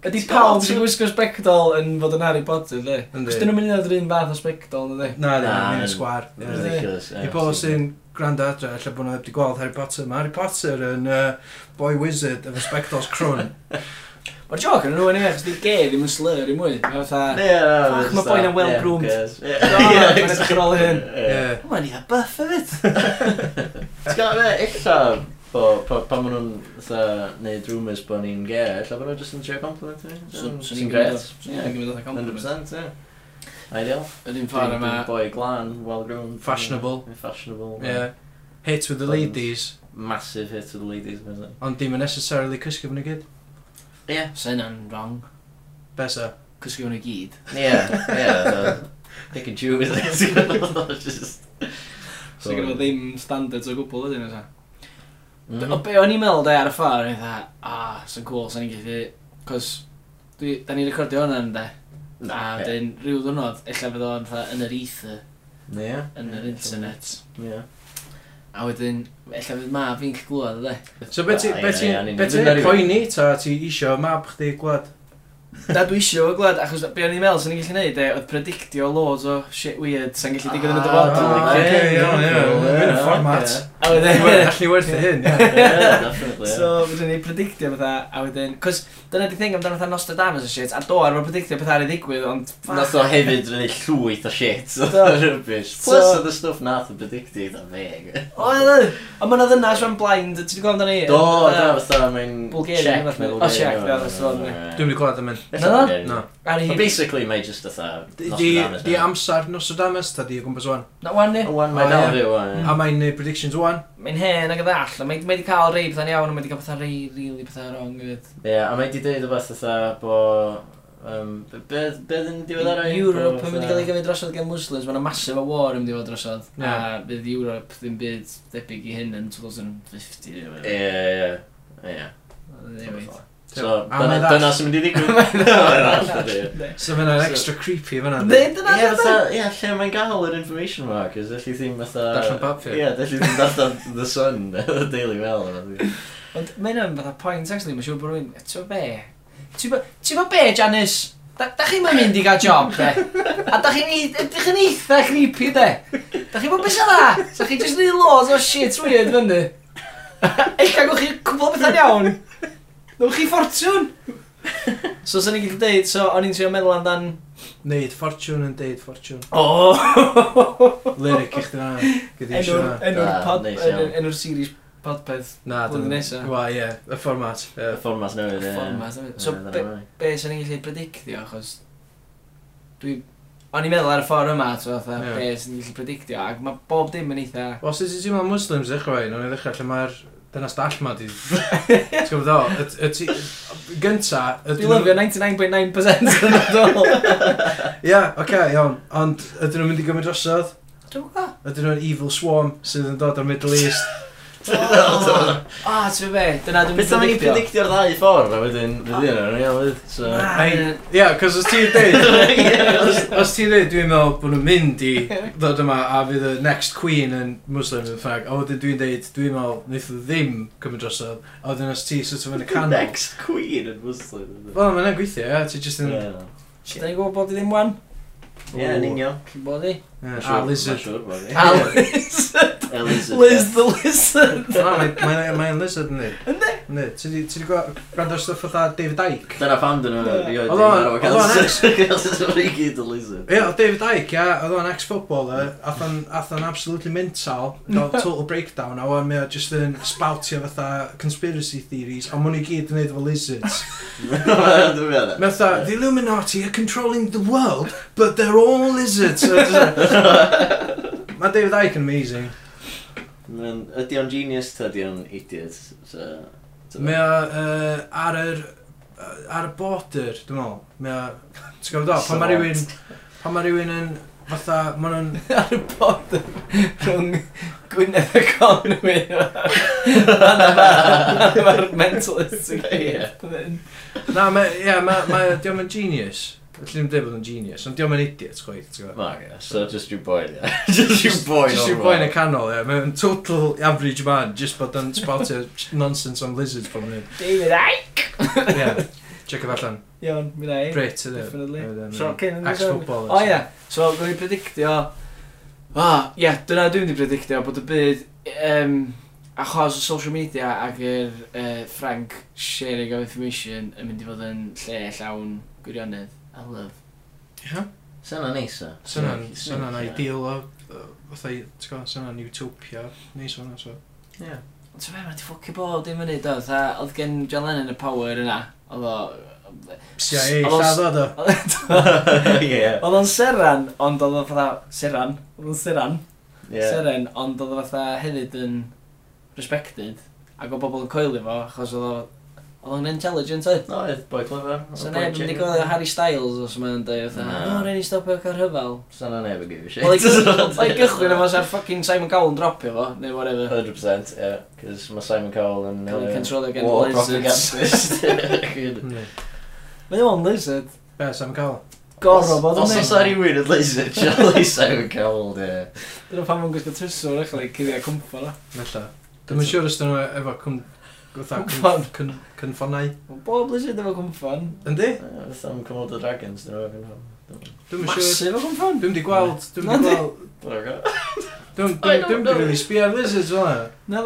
Ydy pawb sy'n gwisgo spectol yn fod yn Harry Potter, dwi?
Yndi.
Os dyn nhw'n mynd i ddod yr un fath o spectol, dwi?
Na, na,
Na,
na,
yn-
sgwar.
Ie,
Ie.
Ridiculous.
I bobl sy'n gwrando adre, lle bod nhw wedi gweld Harry Potter. Mae Harry Potter yn uh, boy wizard efo spectols crwn.
Mae'r joc yn nhw yn eich, di gay ddim yn slur i mwy. Mae fatha, Fuck, ma' boi'n yn well-groomed. Do, mae'n edrych ar ôl hyn.
Ie.
"O, mae'n eitha buff hefyd.
Ti'n gael fe, illa, bo- pa- pan maen nhw'n fatha neud rumours bod ni'n ge, illa bod nhw'n just yn trio compliment i ni.
So- so
Mm, Sy'n
ni'n
gret.
gwybod- ie, ni'n gwybod fatha compliment.
100%, ie. Ideal.
Ydy'n ffordd yma.
Dwi'n Boi glan, well-groomed.
Fashionable.
Ie, Fashionable.
Yeah. Hit with the ladies,
Massive hit to the ladies. isn't it?
ond dim yn necessarily cysgu fan y gyd.
Ie.
Sa'n yna'n wrong.
Besa.
Cysgu hwn i gyd.
Ie, ie. so Pick and choose. Just...
So gyda fo ddim standards o gwbl ydyn nhw ta.
Mm.
O be o'n i'n meddwl de ar y ffordd, o'n i'n dda, ah, sy'n cool, sy'n ni'n gallu... Cos, dwi, da ni'n recordio hwnna yn de. A
Na, ie.
dyn rhyw ddwrnod, illa fydd o'n fatha yn yr ether,
Ie.
yn yr internet.
Ie.
A wedyn, illa fydd ma fi'n cael glwad, ydy.
So beth
Ie, ie, ie,
ti'n
ni'n-
be ti'n
ni'n-
poeni ta ti isio mab chdi gwlad?
Na dwi isio fo glad, achos be o'n i'n meddwl sy'n ni'n gallu neud, e, oedd predictio loads o shit weird sy'n gallu digwydd yn y dyfod.
Ah,
Oce,
ocê,
iawn, iawn.
iawn,
Mae'n y
ocê.
fformat.
A wedyn,
Alli werth i hyn,
Ie,
ie.
definitely, ie.
so fydden ni'n predictio fatha, a wedyn, cos dyna di thing amdano fatha Nostradamus o shit, a do ar predictio beth ar ei ddigwydd, ond
Nath o hefyd rydyn llwyth o shit o
Do.
rubbish.
So-
Plus oedd y stwff nath o predicted a feg.
Oedd e! A ma'n ddynas rhan blind, ti wedi gweld amdano i?
Do, da, fatha, mae'n
Bulgarian,
check
fath-
neu
o,
Bulgarian.
Czech,
neu
da,
whatever,
that's the one,
alright.
Dwi'n mynd i glad am hyn.
Ella
Na,
Bulgarian.
No.
Ar
But
hi.
basically, mae jyst fatha...
Di-
Nostradamus,
Di Oh,
ie.
amsar Nostradamus, ta di o gwmpas wan.
Na wan ni.
O, wan,
O,
Mae'n
ie.
dal fyw, wan,
A mae'n neud predictions wan.
Mae'n hen ac y ddall, a mae mae wedi cael rei pethau'n iawn, a mae wedi cael pethau rei, rili pethau wrong. hefyd.
ie. Ie, a mae di dweud o beth fatha bo... Um, beth yn diweddarau?
Europe yn mynd i gael ei gymryd drosodd gen Muslims, mae'n massive o war yn mynd i fod drosodd.
Ie.
A bydd Europe ddim byd debyg i hyn yn 2050. neu
Ie,
whatever.
ie, ie, ie.
Anyway.
So,
A mae
dyna
that-
dyna sy'n mynd i ddigwydd. Ie,
Ne.
So mae'n
So-
extra creepy fyna.
Ne, dyna
fatha,
dyna.
ie, lle mae'n gael yr information yma, cos allu ddim fatha...
Darllen papur.
Ie, allu ddim darllen The Sun, The Daily Mail.
Ond mae'n yn fatha point, actually, mae'n siŵr bod rhywun, ti'n be? Ti'n bo- ti'n bo be, Janice? Da, da chi'n mynd i gael job, de? A da chi'n ei- ydych chi'n eitha creepy, de? Da chi'n bod beth sy'n dda? So chi'n just neud laws o shit weird fyny? Eich gagwch chi cwbl bethau'n iawn? Nwch chi ffortiwn? So, sa'n ni'n gallu deud, so, o'n i'n trio meddwl amdan...
Neud fortune yn deud fortune.
O!
Lyric i chdi na. Gyda Ah, eisiau
Enw'r
na.
Da,
enw'r pod...
neis iawn.
enw'r- Enw'r series podpeth.
Na,
Blwyddyn nesa.
Wa, ie. Y fformat.
Y
ie.
fformat newydd, ie.
Fformat,
e
Ie,
so,
dyna
be,
mae.
be sy'n ni'n gallu predictio, achos dwi... O'n i'n meddwl ar y ffordd yma, so fatha,
Ie.
yeah. be sy'n ni'n gallu predictio, ac mae bob dim yn eitha...
Os ydych ti'n meddwl Muslims ddechrau fe, nhw'n i ddechrau lle mae'r dynas dall ma di... Ti'n gwybod o? Y- y ti- Gynta...
Dwi'n lyfio 99.9% yn y dol.
Ie, oce, iawn. Ond ydyn nhw'n mynd i gymryd drosodd?
Dwi'n gwybod.
Ydyn nhw'n evil swarm sydd yn dod o'r Middle East?
O, ti'n be, dyna dwi'n
Beth am i ni
predictio.
predictio'r ddau ffordd, a wedyn, fydd un o'n iawn, fydd. So,
Na,
Ai,
na.
Ie, cos os ti'n deud... os- Os ti'n deud, dwi'n meddwl bod nhw'n mynd i ddod yma a fydd y next queen yn Muslim yn ffag. A wedyn dwi'n deud, dwi'n meddwl, wnaeth nhw ddim cymryd drosodd. A wedyn os ti sort of yn y canol...
next queen yn Muslim.
Wel, mae'n gweithio, ie. Ti jyst
Ie,
yn...
Dyn ni'n gwybod bod i ddim wan?
Ie, yn union.
Chi'n bod i?
Ie, A lizard.
A
Al.
lizard.
Lizard.
Liz the lizard.
Na, Ah, mae- mae- mae'n lizard yn neud. Ynddi? Ynddi. Ti di- ti di gwa- gwrando stuff fatha David Icke?
Dyna pam dyn nhw.
Oedd
Oedd
o'n-
o'n...
oedd o'n
Oedd o'n... gyd o lizard.
Ie, oedd David Icke, ia, oedd o'n ex-footballer, ath o'n- ath o'n absolutely mental, gael total breakdown, a o'n mynd just yn spoutio fatha conspiracy theories, a mwyn i gyd yn neud efo lizards.
Dwi'n meddwl.
Mae fatha, the Illuminati are controlling the world, but they're all lizards. So, just- Mae David Icke yn amazing.
Mae'n... Ydi o'n genius, ta ydi o'n idiot. So... so-
Mae o yy, ar yr ar y border, dwi'n meddwl. Mae o, ti'n gwybod o, pan mae rhywun pan mae rhywun yn fatha, mae nhw'n
ar y bod rhwng Gwynedd a Conwy. Mae'r mentalist yn
Ie.
gyd. yn-
na, mae, ie, mae, mae, diolch yn genius. Felly ddim dweud bod yn genius, ond diolch yn idiot, chweith, ti'n gwybod.
Ma, ie, So, just your boy, ie. Just your boy. oh,
Just your
normal.
boy yn y canol, ie. Mae'n total average man, just bod yn spoutio nonsense am lizards pan hyn.
David Icke.
Ie, check it allan.
Iawn, mi na i.
Brit, ydw.
Definitely.
Wedyn,
So,
yy,
cyn yn
Ex-footballer.
O ia, so gwn i predictio... O, ah, ie, dyna dwi'n di predictio bod y byd... Um, achos y social media ac yr uh, Frank sharing of information yn mynd i fod yn lle llawn gwirionedd. I love.
Ie.
Sa'na neis, o.
Swnna'n swnna'n ideal o, o- fatha, i- ti'n gwybod, swnna'n utopia. Neis hwnna, so.
Ie.
Ond ti'n meddwl, mae wedi ffwcio bod dim yn neud o, tha, oedd gen John Lennon y power yna, oedd o...
CIA,
Ond os-
lladd o do.
Ie.
Oedd o'n seran, ond oedd o'n fatha... Seran? Oedd o'n seran?
Ie.
Seren, ond oedd o fatha hefyd yn respected, ac o bobl yn coelio fo, achos oedd o... Oedd o'n intelligent, oedd?
Oedd, boi clever.
So neb yn mynd i gwylio Harry Styles os mae'n dweud fatha,
Na.
o, rhaid ni stopio cael rhyfel.
Sa'na neb yn gyfio shit.
Oedd i gychwyn efo sa'r fucking Simon Cowell yn dropio fo, neu whatever.
100%, ie. Cos mae Simon Cowell yn...
Cael ei
yy,
controlio gen
war
lizards.
propagandist.
Ie.
Mae o'n lizard.
Be, Sam Cawl?
Gorfod bod
Os
yn
oes
ei.
ar i wyn yn laser, surely Simon Cowell, ie.
Dyna pan mae'n gwisgo tryswr eich lai cyddi a cwmpa na.
Nella. Dwi'n yn siŵr os dyn nhw efo cwm... Gwtha
Cwmffon.
cynffonau.
Mae bob lysyd efo cwmffan.
Yndi?
Fytha am Cymod the Dragons, dyn nhw efo'n
Dwi'n yn siŵr.
Masif o cwmffan.
Dwi'n di gweld, dwi'n
Nadi.
di gweld,
hwn.
dwi'n
I
dwi'n
don't
dwi'n
know.
rili sbio ar lizards fel yna.
Na,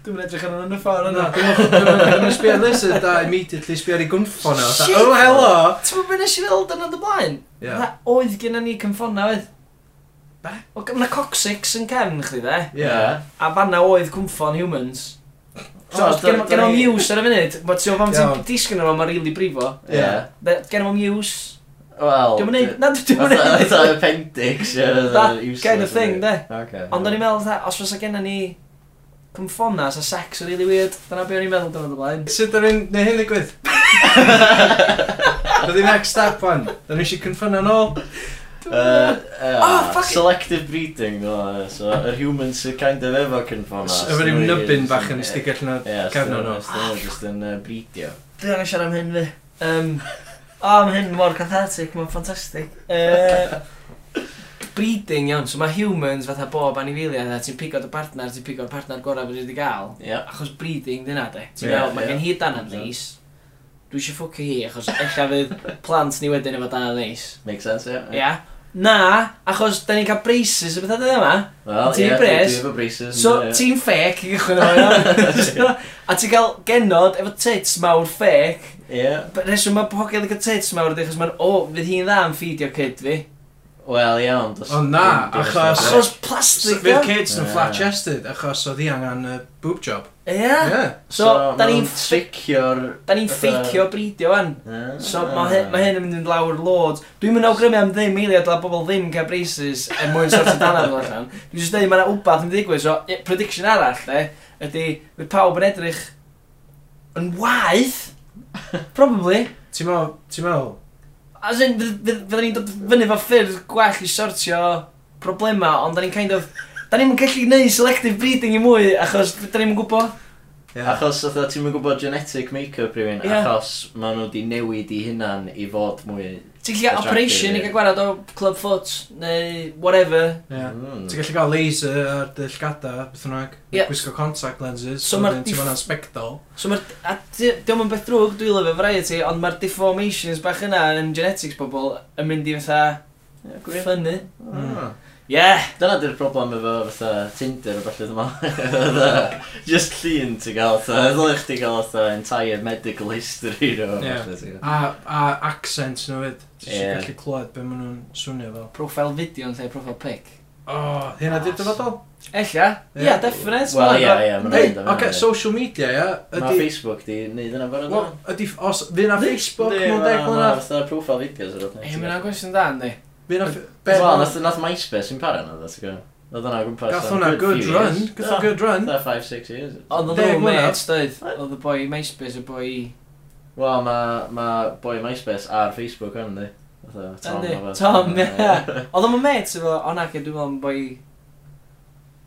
dwi'n mynd edrych arno yn y ffordd
Na,
yna.
dwi'n dwi'n yn sbio ar lizard a immediately sbio ar ei gwmffon o.
Shit.
Oh, hello!
Ti'n mynd nes i weld yn y blaen?
Ie.
Na, oedd gen ni cymffona oedd.
Be?
O, mae coccyx yn cefn chdi de.
Ie.
A fanna oedd cwmffon humans. So,
O,
gen
da-
gen
da
o
ni-
muse ar y funud, bod ti'n fan ti'n
Iawn.
disgyn arno, mae'n rili brifo.
Ie.
De- Gen o muse.
Wel...
Dwi'n mynd, na dwi'n
Fatha
mynd.
fatha appendix, ie.
That kind of thing, de.
Okay.
Ond o'n i'n meddwl, fatha, os fysa gen ni cymffona, sa sex yn really weird, dyna be o'n i'n meddwl dyna blaen.
Sut ar un, neu hyn ddigwydd? Bydd i'n next step fan. Da ni eisiau cynffon yn ôl.
Uh,
Oh,
uh,
fuck it.
selective breeding, no, so yr humans sy'n kind of efo cynffordd.
Efo ryw nybyn bach yn stigell na cefnod nhw.
Ie, just yn yy, breedio.
Dwi'n angen siarad am hyn fi. Um, o, am hyn mor cathartic, mae'n ffantastig. Uh, breeding iawn, so mae humans fatha bob anifeiliaid a ti'n pigo'r partner, ti'n pigo'r partner gorau bod wedi gael.
Ie.
Achos breeding dyna de, ti'n
Ie,
yeah, gael, mae
ie.
gen hi dan am neis. Dwi eisiau ffwcio hi, achos ella fydd plant ni wedyn efo dan am neis.
Make sense, ie.
Ia? Na, achos da ni'n cael braces y bethau dydw yma.
Wel,
Ti'n
ie,
impressed?
dwi efo braces.
So,
ie.
ti'n ffec i gychwyn o A ti'n cael genod efo tits mawr ffec.
Ie.
But Reswm mae pobl yn cael tits mawr ydy, achos mae'n, o, oh, fydd hi'n dda am ffidio kid fi.
Wel, iawn. does
Ond na,
dim byd
achos-
o'r
Achos
So,
plastig,
Fydd
da?
kids yn
Ie.
flat-chested achos oedd hi angen y boob job.
Ie.
Ie.
So, da ni'n ffe-
tricio'r...
da ni'n
fatha-
ffeicio bridio fan.
Ah.
So, mae hyn, ma hyn yn mynd yn lawr loads. Dwi'n mynd awgrymu am ddim eiliad la bobl ddim cael braces er mwyn sort o dana fel allan. Dwi'n just dweud, mae'n wbath yn mynd i ddigwydd. So, i- prediction arall, de, ydy, fydd pawb yn edrych yn waith, probably.
Ti'n meddwl, ti'n meddwl?
As in, fydd- fydd- fydden ni'n dod fyny fo ffyrdd gwell i sortio problema, ond da ni'n kind of... Da ni'n gallu gwneud selective breeding i mwy, achos da ni'n gwybod.
Ie.
Achos oedd ti'n mynd gwybod genetic make-up rhywun,
Ie.
achos maen nhw wedi newid i hunan i fod mwy...
Ti'n gallu cael
Attractive,
operation i
ie.
gael gwarad o club foot, neu whatever.
Ie.
Mm.
Ti'n gallu cael laser ar dy llgada, beth yna,
Ie.
gwisgo contact lenses,
So
so
ma'r
ma'n ti'n
diff-
meddwl spectol.
So mae'r... A di- diom yn beth drwg, dwi'n lyfio variety, ond mae'r deformations bach yna yn genetics pobl yn mynd i fatha
Ie, gwir.
ffynnu.
Mm.
Hmm.
Yeah!
Dyna di'r problem efo fatha Tinder o falle dyma. Fatha, Just llun ti'n gael fatha. Ddylech chdi gael fatha entire medical history nhw.
Ie.
falle, ti'n gwbod.
A, a accent nhw fyd. Ti'n
Hmm. Ie.
yeah. gallu clywed be maen nhw'n swnio fel.
Profile video yn lle profile pic.
O, oh, hynna
Ah,
di'r dyfodol?
Ella?
Ie.
Ie, yeah, definite.
Wel, ie, ie, mae'n
Hei,
rhaid am
oce,
hynny.
social media, ie.
Mae
Ydy,
Facebook di neud yna barod
wel, ydy, os, fydd na Facebook
Yndi,
mewn
ma-
deg
ma'
mlynedd?
fatha profile videos ar ôl.
Ie, mae'n gwestiwn da, ynddi.
Fydd na... f- be-
Wel, nath nath MySpace yn para yna, ti'n gwybod. Oedd yna gwmpas.
Gath
am
hwnna good
few
run,
years.
gath hwnna good run.
Fatha 5-6 years.
Oedd y
Deg
little
mlynedd.
mates, doedd? Oedd y boi MySpace, y boi...
Wel, mae ma boi MySpace ar Facebook yn di. Fatha, Tom.
Yndi,
efo-
Tom, ie. Oedd o'n mates efo, o nac, dwi'n meddwl yn boi...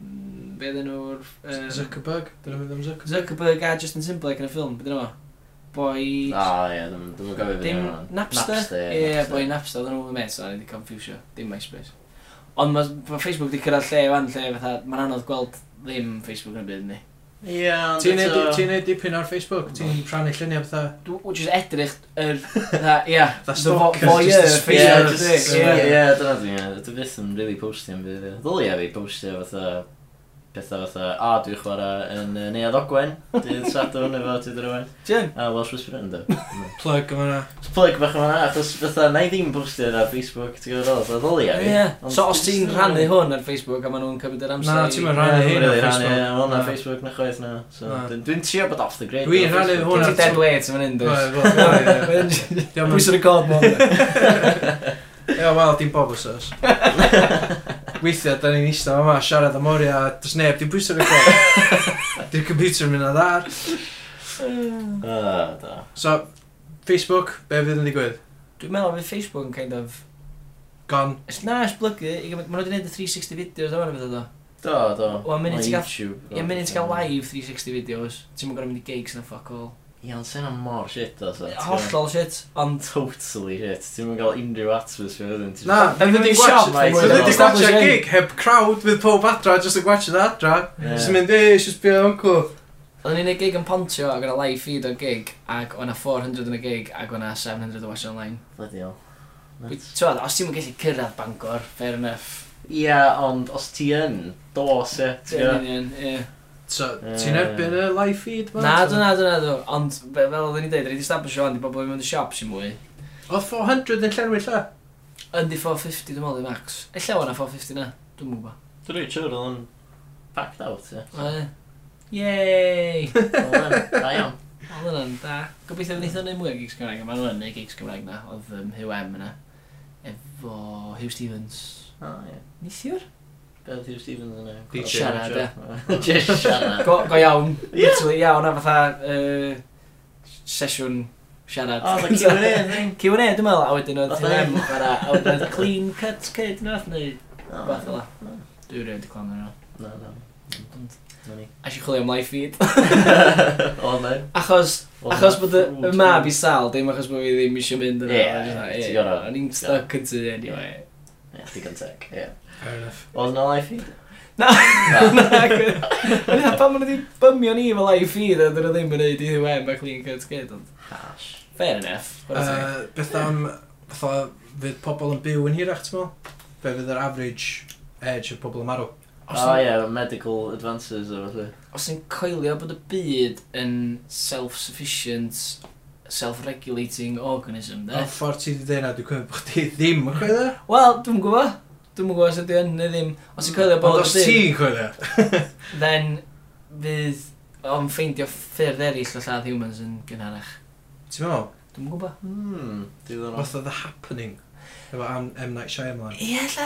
Mm, Be ddyn nhw'r... yy,
Zuckerberg, dyna fydd am Zuckerberg.
Zuckerberg a Justin Timberlake yn y ffilm, beth yna Boi...
O, ie, dwi'n gofio fi.
Dim Napster?
ie,
Ie, boi Napster, oedden nhw'n mates, o'n i wedi confusio, dim MySpace. Ond mae ma Facebook wedi cyrraedd lle fan lle, fatha, mae'n anodd gweld ddim Facebook yn y byd ni.
Ie, ond
Ti'n neud
eto-
ti'n neud dipyn ar Facebook? Ti'n rhannu lluniau bethau?
Dwi'n just edrych, yr, fatha, ia,
Fatha
the vo-
stalkers,
voyeur
just the
Ie,
Facebook,
just-
yndi,
ie,
ie.
ie, dyna dwi. ie. Dwi byth yn really postio am byd. ie. Ddylia fi postio fatha pethau fatha, a dwi'n chwarae yn uh, Neuad Ogwen, dydd Sadwrn efo Tudor Owen,
Jyn,
a Welsh Whisperer
Plug yma na.
Just Plug bach yma na, achos fatha, na i ddim postio ar Facebook, ti'n gwybod ddol, so ddylia fi.
ie.
Ond
So os
dwi
ti'n
jyst-
rhannu hwn ar Facebook a maen nhw'n cymryd yr amser
Na,
i-
ti'm yn
Ie,
rhannu
dwi'm
hyn
really
ar Facebook.
rhannu, ie, wel, na
Na.
Facebook na chwaith na. So,
Na.
dwi- Dwi'n trio bod off the grid.
Dwi'n
efo
rhannu
Facebook.
hwn
Gen
ar-
ti dead weight yn fan hyn,
Wel,
dwi'n.
wel, ie, ie.
Pwys y record mode.
Ie, wel, dim bob os oes. Weithiau, da ni'n eistedd yma, siarad am oria, dys neb, dim bwysau rhaid gweld. Di'r computer yn mynd ar ddar.
Ah, da.
So, Facebook, be fydd yn digwydd?
Dwi'n meddwl bod Facebook yn kind of
Gon.
Os na esblygu, i gymryd- maen nhw wedi gwneud y 360 videos o'n fath o do.
Do, do.
Wel, munud
Ma'
ti'n gael-
YouTube.
Ie, munud ti'n cael live 360 videos, ti'n mynd gorau mynd i gigs na fuck all.
Ie, ond sy'n mor shit, o, so. ti'n gwbod.
Hollol shit, ond...
Totally shit. Ti'n mynd gael unrhyw atmosphere ydyn.
Na,
Da ni'n mynd i
gwatch-
siop,
mate.
Fydd
Fydd
wedi
wedi
gwachio gig heb crowd, fydd pob adra, jyst yn gwachio adra. Jyst yn mynd, e, jyst byw uncle.
Oedden ni'n ei gig yn pontio ac o'na live feed o'r gig ac o'na 400 yn y gig ac o'na 700 o watch online.
Bloody hell.
Wi-
Nuts.
T'wod, os ti'n gallu cyrraedd Bangor, fair enough.
Ie, ond os ti yn, dos e. ti'n
Yn
gwbod?
union, ie.
So, ti'n erbyn y live feed ma?
Na, do, na, do, na, do. Ond fe- fel oedden ni'n dweud, rydyn ni'n stablisio hwn, di bobl yn mynd i shops i mwy.
Oedd 400 yn llenwi lle?
Yndi 450 dwi'n meddwl i max. Ella o'na 450 na, dwi'n mwyn gwybod.
Dwi'n rhaid siwr oedd yn packed out, ie.
Yey!
Wel, then, Da iawn.
Oedd hwnna'n da. Gobeithio wnaeth o'n neud mwy o gigs Cymraeg, a maen nhw'n neud gigs Cymraeg na, oedd um, Hugh M yna. Efo Hugh Stevens.
O,
Ah,
ie.
Neithiwr?
Beth yw Stevens yn e?
DJ.
Siarad, ie.
Just siarad.
Go, go iawn, literally iawn, a fatha uh, sesiwn siarad.
O, da Q&A, thing.
Q&A, dwi'n meddwl, a wedyn oedd
Fatha
Hugh M
hyn.
fara, a wedyn oedd clean cut kid, nath neu
O,
fath o la.
Mm.
Dwi'n rhaid i clam yna.
Na, na. Na ni.
A si chwilio am live feed.
O, na.
Achos,
Oedd
achos
na
bod y y
food.
mab i sal, dim achos bod fi ddim eisiau mynd yna.
Ie,
Oedd hwnna,
ie,
ie.
ti'n gorfod.
O'n i'n stuck yn tu, anyway.
Ie, digon teg, ie.
Fair enough.
Oedd na life feed?
Na. Na, pan maen nhw wedi bymio ni efo live feed a dyn nhw ddim yn neud i ddim a clean cut kid ond
Hash.
fair enough chwarae teg.
Uh, beth am, fatha, fydd pobl yn byw yn hirach, ti'n meddwl? Be fydd yr average age o pobl yn marw?
Os
O,
ni'n-
ie, medical advances o felly.
os ni'n coelio bod y byd yn self-sufficient self-regulating organism de
Ond ffordd ti wedi dweud na, dwi'n cymryd bod chdi ddim yn chwilio?
wel dwi'n gwybod dwi'n gwybod os ydy yn neu ddim os ti'n coelio bod
Ond os
y byd-
ti'n chwilio?
then fydd o'n ffeindio ffyrdd eraill o lladd humans yn gynharach
Ti'n meddwl?
dwi'n gwybod
Hmm, digon o.
Fath o The Happening. Efo am M. Night Shyamalan.
ie lla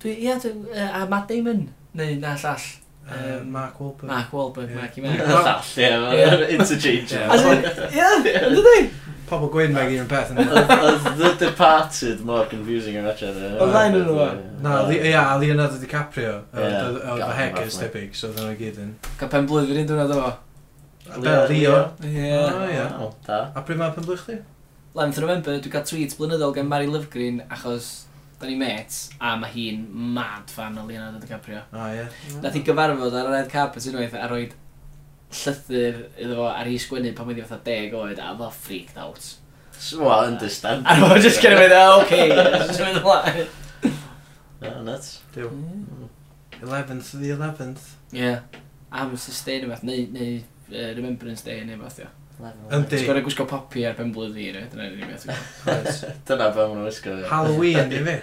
dwi, ie dwi, yy, a Matt Damon neu na llall
Uh, Mark Wahlberg.
Um, Mark Wahlberg
Ie.
Marky Mark
All, ie, mae'n interchangeable.
As in, ie, yn dydi?
Pobl gwyn mae'n un peth yn
Oedd oedd The Departed mor confusing yn ratio.
Oedd rai nhw'n nhw?
Na, li- ia, a Leonardo DiCaprio.
Ie.
Oedd oedd y
Gafon
heggers
fath, like.
debyg, so oedd nhw'n gyd yn.
Ca pen blwyddyn i'n dwrnod o
Be, Leo?
Ie
O, ie.
Da.
A pryd mae'n penblych chdi?
Lenth yn November, dwi'n cael tweets blynyddol gen Mary Lyfgreen achos da ni mates a mae hi'n mad fan o Leonardo DiCaprio.
O, ie.
Nath i gyfarfod ar y red carpet unwaith a roed llythyr iddo fo ar ei sgwennu pan wedi fatha 10 oed a ddo freaked out.
Well, understand.
A roed just gen i fynd, oh, okay, just mynd ymlaen.
Yeah, nuts.
Dyw. 11th the 11th.
Ie. Am sustain efo, neu, neu uh, Remembrance Day neu fath o.
Yndi.
Ti'n gorau gwisgo popi ar ben blwydd i, dyna ni'n beth.
Oes.
Dyna be maen nhw'n wisgo. ie.
Halloween, di fi.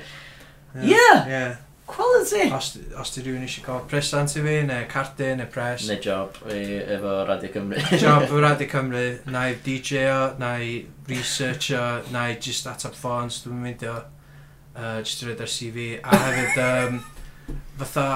Ie!
Ie.
Quality!
Os os di rhywun eisiau cael presant i fi, neu cardyn, neu pres.
Neu job i- efo Radio Cymru.
Job fy Rhaid i Cymru, na i DJ-o, na i research-o, na i just atab ffons, dwi'n mynd o, uh, just i roed ar CV, a hefyd, um, fatha,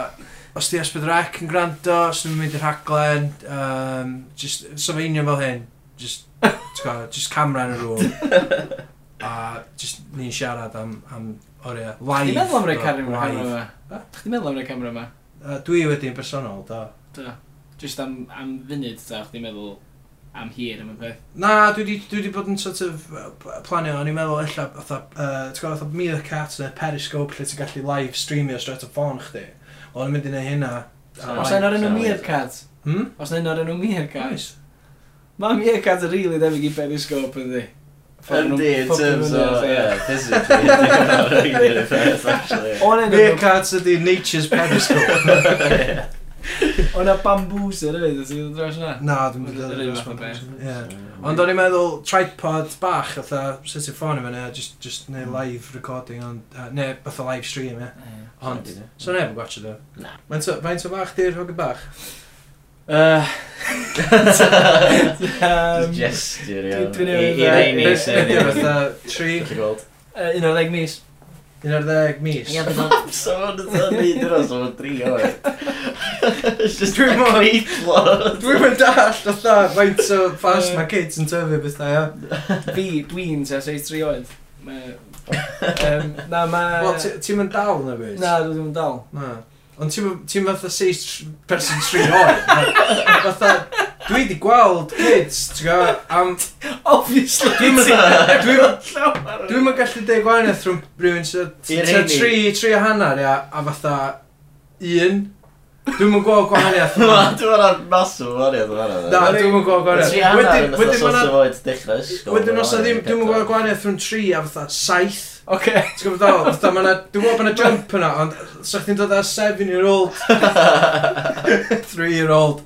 os di Esbydd Rec yn gwrando, os dwi'n mynd i'r rhaglen, um, just, so fe union fel hyn, just, ti'n gwbod, just camera yn y rŵm, a just ni'n siarad am, am oriau, live.
Chdi'n meddwl am rhoi
bro,
camera
live.
yma?
Ha?
Chdi'n meddwl am rhoi camera yma?
Uh, dwi wedi'n bersonol, do.
Da. Just am, am funud, ta, chdi'n meddwl am hir am y peth.
Na, dwi di, dwi di bod yn sort of uh, p- planio, o'n i'n meddwl ella, fatha, uh, ti'n gwybod, fatha Meerkat neu Periscope lle ti'n gallu live streamio straight o ffôn chdi. O'n i'n mynd i neud hynna.
Sa-
Os
sa-
yna o'r enw
sa-
Meerkat?
Hmm?
Os yna o'r enw Meerkat?
Guys.
Mae Meerkat yn rili debyg i Periscope yndi. Ffordd nhw'n
Yndi, in
popio
terms
fyny,
o,
so,
yeah, physically, ydi hwnna'n rhaid i'r peth, actually.
O'n enw
Meerkat ydi Nature's Periscope.
O'n a bambooser hefyd, os ydyn dros yna.
Na, dwi'n mynd
Yr un fath o beth.
i ddweud. Ond o'n i'n meddwl tripod bach, fatha, set i ffôn i fyny, a just, just neu live recording, ond, uh, neu fatha live stream, ie. Ond, so neb yn gwachio do.
Na.
Mae'n to, mae'n to bach, di'r hwg bach.
Um,
Gesture,
dwi- dwi'n
iawn.
iawn,
I- I rei
ie.
ni
Be- be' 'di o,
sy'n...
fatha, tri,
Gallu gweld.
uh, Un o'r ddeg mis.
un ar ddeg mis.
Ie, bydda.
So ma'n ydyn ni dros o'n dri oed. It's just
Dwi'n
a
mor-
great lot.
Dwi'n mynd all fatha, faint o fast mae kids yn tyfu bethau, ia.
Fi, dwi'n tua 63 oed. Mae... Um, na, mae...
Wel, ti- ti'n mynd dal yn y byd?
Na, dwi ddim yn dal.
Na. Ond ti'n mynd- ti'n fatha seis tr- person tri oed. na? Fatha, dwi di gweld kids, ti'n gwybod, am...
Obviously!
Dwi'n mynd... Dwi'n
Llawer o-
Dwi'n mynd gallu deud gwahaniaeth rhwng rhywun sy'n
I'r
tua
heini.
tri, tri a hanner, ia, a fatha un, Dwi'm yn gweld gwahaniaeth
Dwi'n meddwl masw wariad o'n hynny.
Na, dwi'm yn gweld gwahaniaeth
Gwrdd. Tri hanner
Wedyn-
yn
Wedyn ma' na-
ystod sort of oed dechrau ysgol.
Wedyn os na ddim, dwi'm yn gweld gwahaniaeth rhwng tri a fatha saith
Oce.
Ti'n gwybod ddol? Fatha ma' na, dwi'n gwybod bod na jump yna, ond sa chdi'n dod â 7-year-old, 3-year-old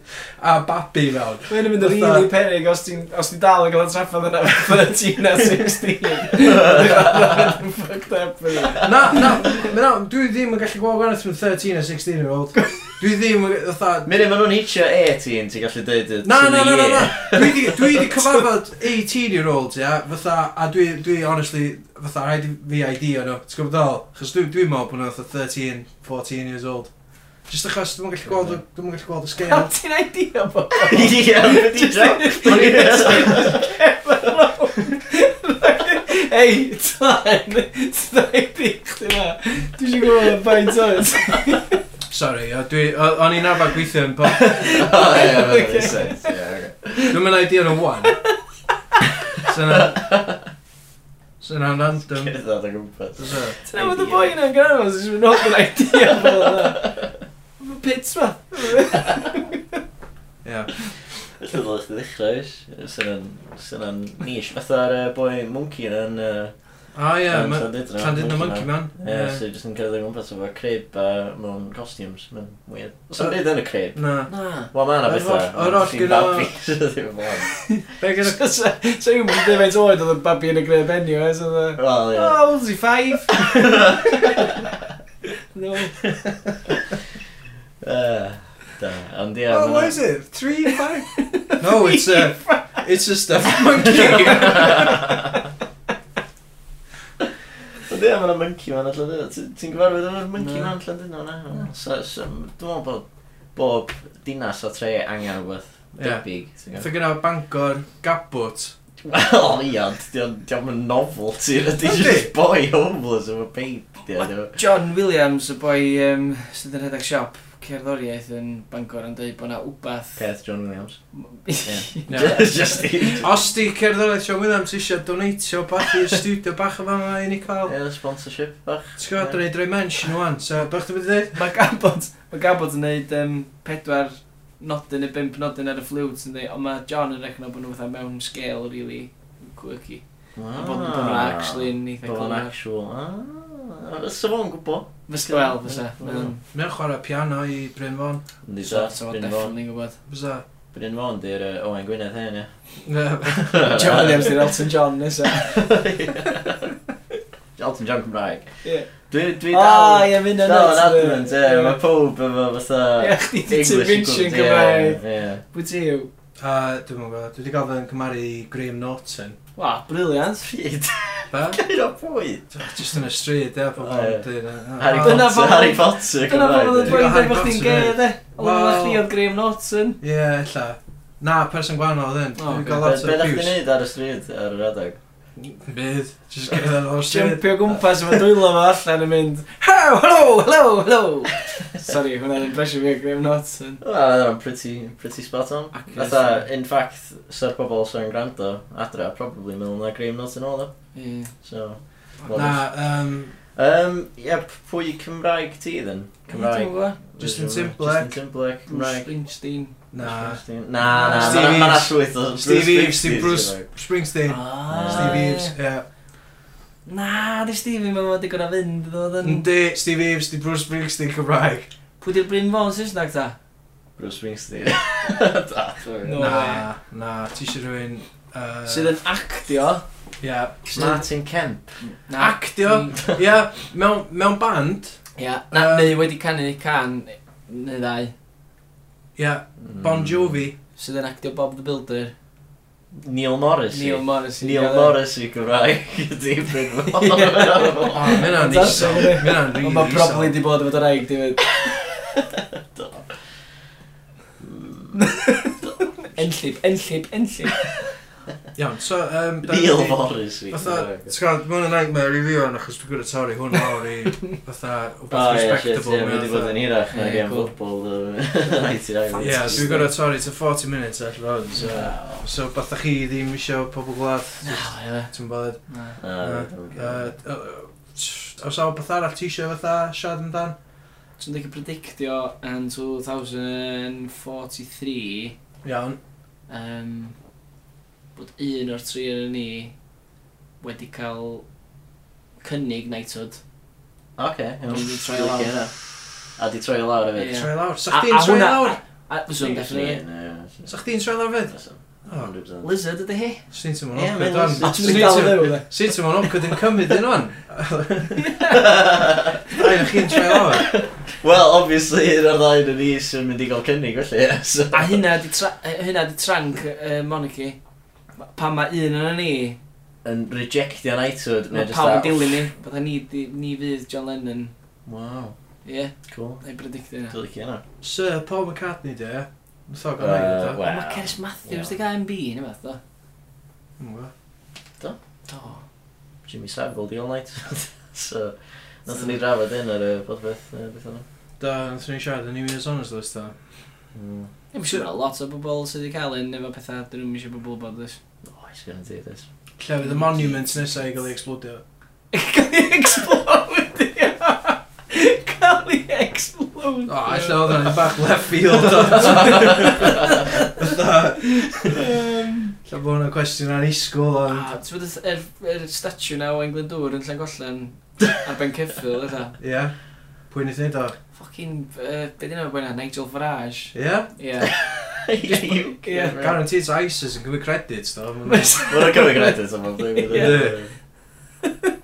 a babi mewn.
Mae'n mynd yn
Fatha-
rili peryg os ti'n os ti'n dal yn cael y traffadd yna fydd y ti'n a 16. Mae'n fucked up e. yn ei.
Na, na, na, dwi ddim yn gallu gweld gwahaniaeth rhwng 13 a 16-year-old. Dwi ddim yn, fatha...
Mynd maen nhw'n hitio 18, ti'n gallu dweud y
Na, na, na, na, na.
year.
Dwi di, dwi di cyfarfod 18-year-olds, ia, fatha, a dwi, dwi, honestly, fatha, rhaid i fi idea nhw, ti'n gwybod ddol? Chos dwi, dwi'n meddwl bod nhw fatha 13, 14 years old. Just achos, dwi'n gallu gweld, y- dwi'm yn gallu gweld y
A
scale.
ti'n idea bo?
Ie, beth i'n joc.
Ei, tan! Tan i chdi na. Dwi eisiau gwybod faint oes.
Sorry, o, dwi, o- o'n i'n arfer gweithio yn bod
O, ie, mae'n ei sens. Ie, oce.
Dwi'n mynd idea yn y wan. Syna... Syna random.
Cerdded o gwmpas.
Fysa.
Ti'n nabod y boi yna'n gyrraedd os ysgrifennu hwb yn idea bo yna. Mae'n pits ma.
Ie.
Felly ddod eich ddechrau oes? Sy'n yn nish. Fatha'r yy, boi monkey yn...
O ie, ma- Llandud the Monkey Man.
Ie,
Ie.
sy'n jyst yn cerdded o gwmpas efo crib a mewn costumes. Mae'n weird. Os o'n yn y crib.
Na.
Na.
Wel, mae'n a
Yr
bethau.
holl- yr holl gyda- Be gyda...
Sa i'n gwybod beth faint oed oedd y babi yn y greu benio, oes oedd e?
Wel, ie.
Oh, was he five? No.
Yy, Da, ond ie.
Oh,
ma'
what
na-
is it? Three, five? No, it's a... It's a stuffed monkey.
Ond ie, mae'n monkey man allan dyna. Ti- Ti'n gyfarwydd efo'r monkey man allan dyna? Na. na. So- so, Dwi'n meddwl bod bob dinas o tre angen rhywbeth
Ie.
debyg. ti'n gwbod?
Fyth gyda Bangor, Gabwt.
Wel, ie, ond diolch yn novelty. Ydy
Yndi.
just boi homeless efo peip. ie,
Ma'
dwi'n-
John Williams, y boi um, sydd yn rhedeg siop cerddoriaeth yn Bangor yn dweud bod na wbath...
Peth John Williams.
Ie.
Just i. Ie,
Os di cerddoriaeth Sean Williams eisiau donatio bach i'r studio bach yma i ni cael.
sponsorship bach.
Ti'n gwybod, dwi'n ei droi mention o'n, so bych ti'n mynd i
Mae Gabod, mae Gabod yn neud um, pedwar nodyn neu bimp nodyn ar y flute yn dweud, ond mae John yn rechno bod nhw fatha mewn scale really quirky. A
Ah.
bod nhw bod nhw actually yn eitha
Bod yn
clyfar.
actual. Ah. Fysa fo'n gwybod.
Fysa, wel, fysa. Mae o'n-
Mae'n chwarae piano i Bryn Fon.
Yndi,
So,
da.
so
Bryn Fawn.
definitely yn gwybod.
Fysa.
Bryn Fawn di'r yy, Owen Gwynedd hen, ie.
Ie.
John Williams di'r Elton John nesaf.
Elton John Cymraeg.
Ie.
Dwi dwi
Ah,
dal...
ie, mynd yn
Dal yn
nuts, ie.
adamant, ie. Mae pob efo fatha...
Ie, chdi di
Uh, English
intervention
equals, ie,
Cymraeg.
Ie.
Wyt ti yw?
A dwi'n mwyn gwybod, dwi wedi gael fy yn cymaru i Graham Norton.
Wa, briliant.
Pryd.
Be?
Gair o bwyd.
Just yn y stryd, e,
O, ie.
pobl.
Harry
Ah. Dyna
Potter,
pam-
Harry Potter
Dyna pan oedd y
dweud-
Cymraeg. ie.
dweud
Harry
bod chdi'n
Potter,
gay,
ie.
de? Ond oedd
Wel-
chdi oedd Graham Norton.
Ie, illa. Na, person gwahanol ddyn.
O,
Dwi'n
oce.
gael
Be-
lot
Be
o
ddech chi'n
abuse.
neud ar y stryd, ar yr adag?
Bydd. Just gyda o'r stryd.
Jumpio gwmpas efo dwylo fo allan yn mynd Hello, hello, hello, hello Sorry, hwnna'n impression fi o Graham Norton
Wel, oedd o'n Ah, pretty, pretty spot on.
Ac-
Fatha, in fact, sa'r pobol sy'n gwrando adra, probably mewn na Graham Norton oedd o.
Ie.
So,
Na, um,
um, ie, p- pwy Cymraeg ti ddyn?
Dwi'm yn
Cymraeg.
gwbod.
Justin
Just-
Timberlake.
Justin Timberlake,
Bruce
Cymraeg.
Springsteen
na.
Na, na, ma'
Steve
na- ma' na
Eves.
llwyth o
Steve Eves, di
Springsteen,
Bruce
Cymraeg.
Springsteen.
Ah.
Steve Eves, ie.
Na, di Stevie mae'n fawr digon o fynd Bydd oedd yn
Yndi, Steve Eves, di Bruce Springsteen Cymraeg.
Pwy di'r Bryn Fawn Saesneg ta?
Bruce Springsteen. Da, sorry.
No.
Na, na, ti eisiau rhywun... yy,
Sydd yn actio
Ie.
Martin Kemp.
Na.
Actio. Ie, mewn mewn band.
Ia, na,
Yy.
neu wedi canu can Neu ddau
Ie, Mm. Bon Jovi.
Sydd yn actio Bob the Builder
Neil Morris.
Neil Morrissey
Neil Morris i Gymraeg ydy Bryn
O, mae Oh, hynna'n iso.
Fantastic.
Mae hynna'n rili
Ond
iso.
mae probably di bod yn fod o'r aig, di fynd. Enllib, enllib, enllib.
Iawn, so... Um,
Neil Morris i
Fatha,
Gymraeg.
ti'n gwybod, mae'n nightmare i fi o'n achos dwi'n gwybod torri hwn lawr i fatha
O
wbeth
Ah, ie, Oh, shit, ie,
respectable
mae wedi bod yn hirach na
Ie,
gen
cool.
football Ie,
Ie, dwi'n gwybod torri to 40 minutes all round, so...
Oh.
So, beth da chi ddim eisiau pobl gwlad, ti'n bod...
ah,
uh, Os awr beth arall ti eisiau fatha siarad amdan?
Dwi'n dwi'n predictio yn 2043
Iawn.
um, bod un o'r tri yn ni wedi cael cynnig knighthood.
Oce, iawn.
Dwi'n mynd i troi lawr.
Licio hynna. A di troi lawr efo.
Ie.
Troi lawr.
A-
Sa chdi'n
a
troi
hwnna-
lawr?
A fyswn, definitely.
Sa chdi'n troi lawr fyd? O,
100%.
Lizard ydy hi.
S'n i'n teimlo'n
Ie, mae'n
awkward o'n.
A
ti'n dal i fyw, de?
S'n i'n teimlo'n awkward yn cymryd un o'n. Dau na chi'n troi lawr.
Wel, obviously, un o'r ddau yn ni sy'n mynd i gael cynnig, felly. ie, so-
A hynna di, tra yy, hynna di trank uh, monarchy. Ma- Pan mae un yn ni,
Yn rejectio'n eitwyd.
mae pawb yn dilyn ni. Bydda ni, di- ni fydd John Lennon.
Wow,
Ie, yeah,
cool.
i predictio hynna.
Dwi'n licio hynna.
Sir Paul McCartney, de. Nath o gael ei
Yy,
wneud o.
Mae
Wel,
Ceres Matthews
Ie.
di gael MB, neu beth, do?
Dwi'm yn gwbo.
Do.
Jimmy Savile di all night. So, nath ni drafod hyn ar y podbeth, yy, beth yna.
Da, nath ni'n siarad yn New Year's Honours list, da.
Mm.
Ie, mae'n siŵr o lot o bobl sydd wedi cael un efo pethau dyn nhw'n eisiau bobl bod ys.
Oh, he's gonna do this.
Lle fydd y monument nesaf i gael ei explodio.
Cael ei explodio! Cael ei explodio!
O, lle oedd hwnna'n bach left field. Fatha- Lle bod hwnna'n cwestiwn ar isgwyl, ond...
Ti'n bod y yr statue na o England Dŵr yn llen gollen ar ben ceffil, ydw?
Ie. Pwy'n ei wneud o?
Fucking, uh, be dyn nhw'n bwyna, Nigel Farage.
Ie.
Ie.
You can't remember.
Guaranteed ISIS yn gymryd credits, do. Ma' nhw'n-
Wel, mae'n cymryd credit am o'n dwi'n
Ie.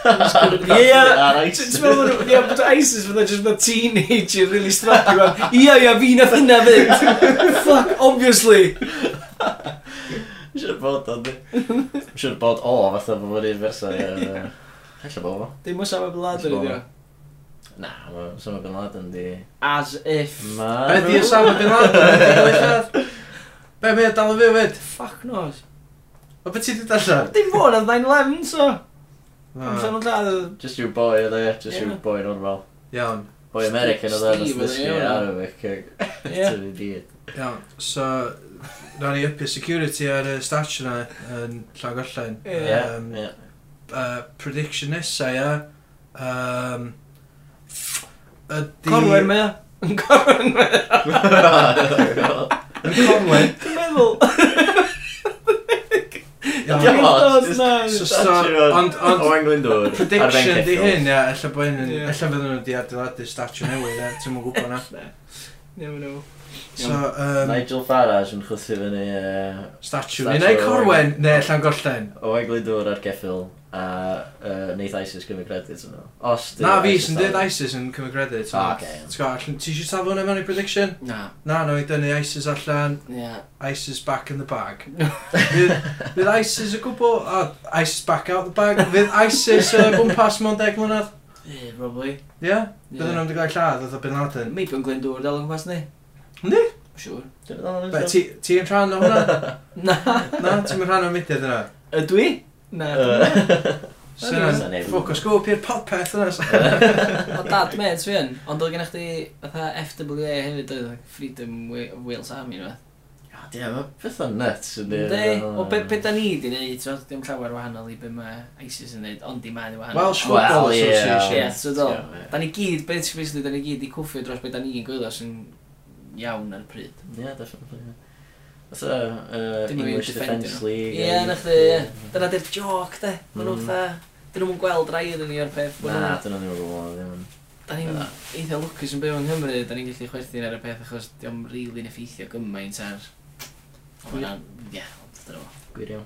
Ie, ie. Ti'n meddwl bod nhw- ie, bod ISIS fydda jyst bod teenager really strapu fan. Ie, ie, fi nath hynna fyd. Fuck, obviously.
Siwr bod o, di. Siwr bod o, fatha bod bod i'r fersa. Hella bod o.
Dim os am y blad
Ti'n
yn
meddwl?
ydio.
Na, mae Osama Bin Laden di...
As if.
Be
Be
di Osama Bin Laden? Be mae o dal y fi fyd?
Fuck knows.
O beth ti di darllen?
Dim fod oedd 9-11, so. Am
O,
llan o'n lladd.
Just your boy, ydy. e, Just
Ie.
your boy normal.
Iawn,
Boy American, ydy. Nes
Steve, e,
ddysgu
ie.
Arabic.
Ie.
Ie. Ti'n byd.
iawn. So, na ni ypu security ar y statue na yn Llangollen.
Ie.
Yym,
Ie.
yy, Prediction nesa, ia. Um, ydi...
Corwen mae o. Yn Corwen mae o.
Yn Corwen.
Dwi'n meddwl.
iawn.
Dos na.
So start-
Oh
ond- ond-
O England o'r...
Prediction di hyn, ia. Ella bod hyn yn...
Ie.
Ella fydden nhw di adeiladu statue newydd, ia. Ti'n mwyn gwybod na.
Never know.
So, um,
Nigel Farage yn chwythu fyny yy,
statue.
Statue
Ni neu
o-
Corwen, neu Llangollen.
o eglwydwr ar geffil a uh, neith ISIS gymryd credit yn nhw. Os di-
Na fi sy'n
dal-
dweud ISIS yn cymryd credit.
Ah, oce, iawn.
Ti'n gwybod, allan- ti eisiau tafod hwnna mewn i prediction?
Na.
Na, no, i dynnu ISIS allan,
Ie.
ISIS back in the bag. Fydd fydd ISIS y gwbl, a ISIS oh, back out the bag. Fydd ISIS uh, gwmpas mewn deg mlynedd.
Ie, probably.
Ie? Yeah? Bydden nhw'n gael lladd oedd o Bin Laden.
Mi by'n Glenn Dŵr dal yn gwmpas ni.
Yndi?
Siwr.
Dwi'n meddwl yn
Be,
ymwneud.
ti ti yn rhan o hwnna?
Na.
Na, ti'n rhan o mudiad yna?
Ydw i? Na.
So
Sa
yna,
neb yn
ffocws gwb i'r popeth yna.
O dad meds fi yn, ond oedd gennych chdi fatha FWA hefyd oedd like, Freedom Wa- of Wales Army yna.
Ah, Ie, mae beth o'n nuts yn dweud.
Ynddi, o be, be da ni di neud, so, dim llawer wahanol i be mae ISIS yn neud, ond di ma'n wahanol.
Welsh Football
Wel, ie.
Association.
Ie, so do. Da ni gyd, basically, da ni gyd i cwffio dros be da ni'n gwylio sy'n iawn ar y pryd.
Ie, definitely. ie. Fatha uh,
Dim yn
English
defendio
Defence
nhw.
League.
Ie,
a-
na chdi, ie. Dyna di'r joc, de. Mae nhw'n
Mm.
fatha, dyn nhw'n gweld rai yn ni o'r peth. ma'
Na,
nhw'n-
dyn nhw ddim yn gwybod. ddim yn-
Da ni'n
Na.
eitha lwcus yn byw yng Nghymru, da ni'n gallu chwerthin ar y peth achos diom rili'n effeithio gymaint ar... O, na, ie, ond dyna fo.
Gwir iawn.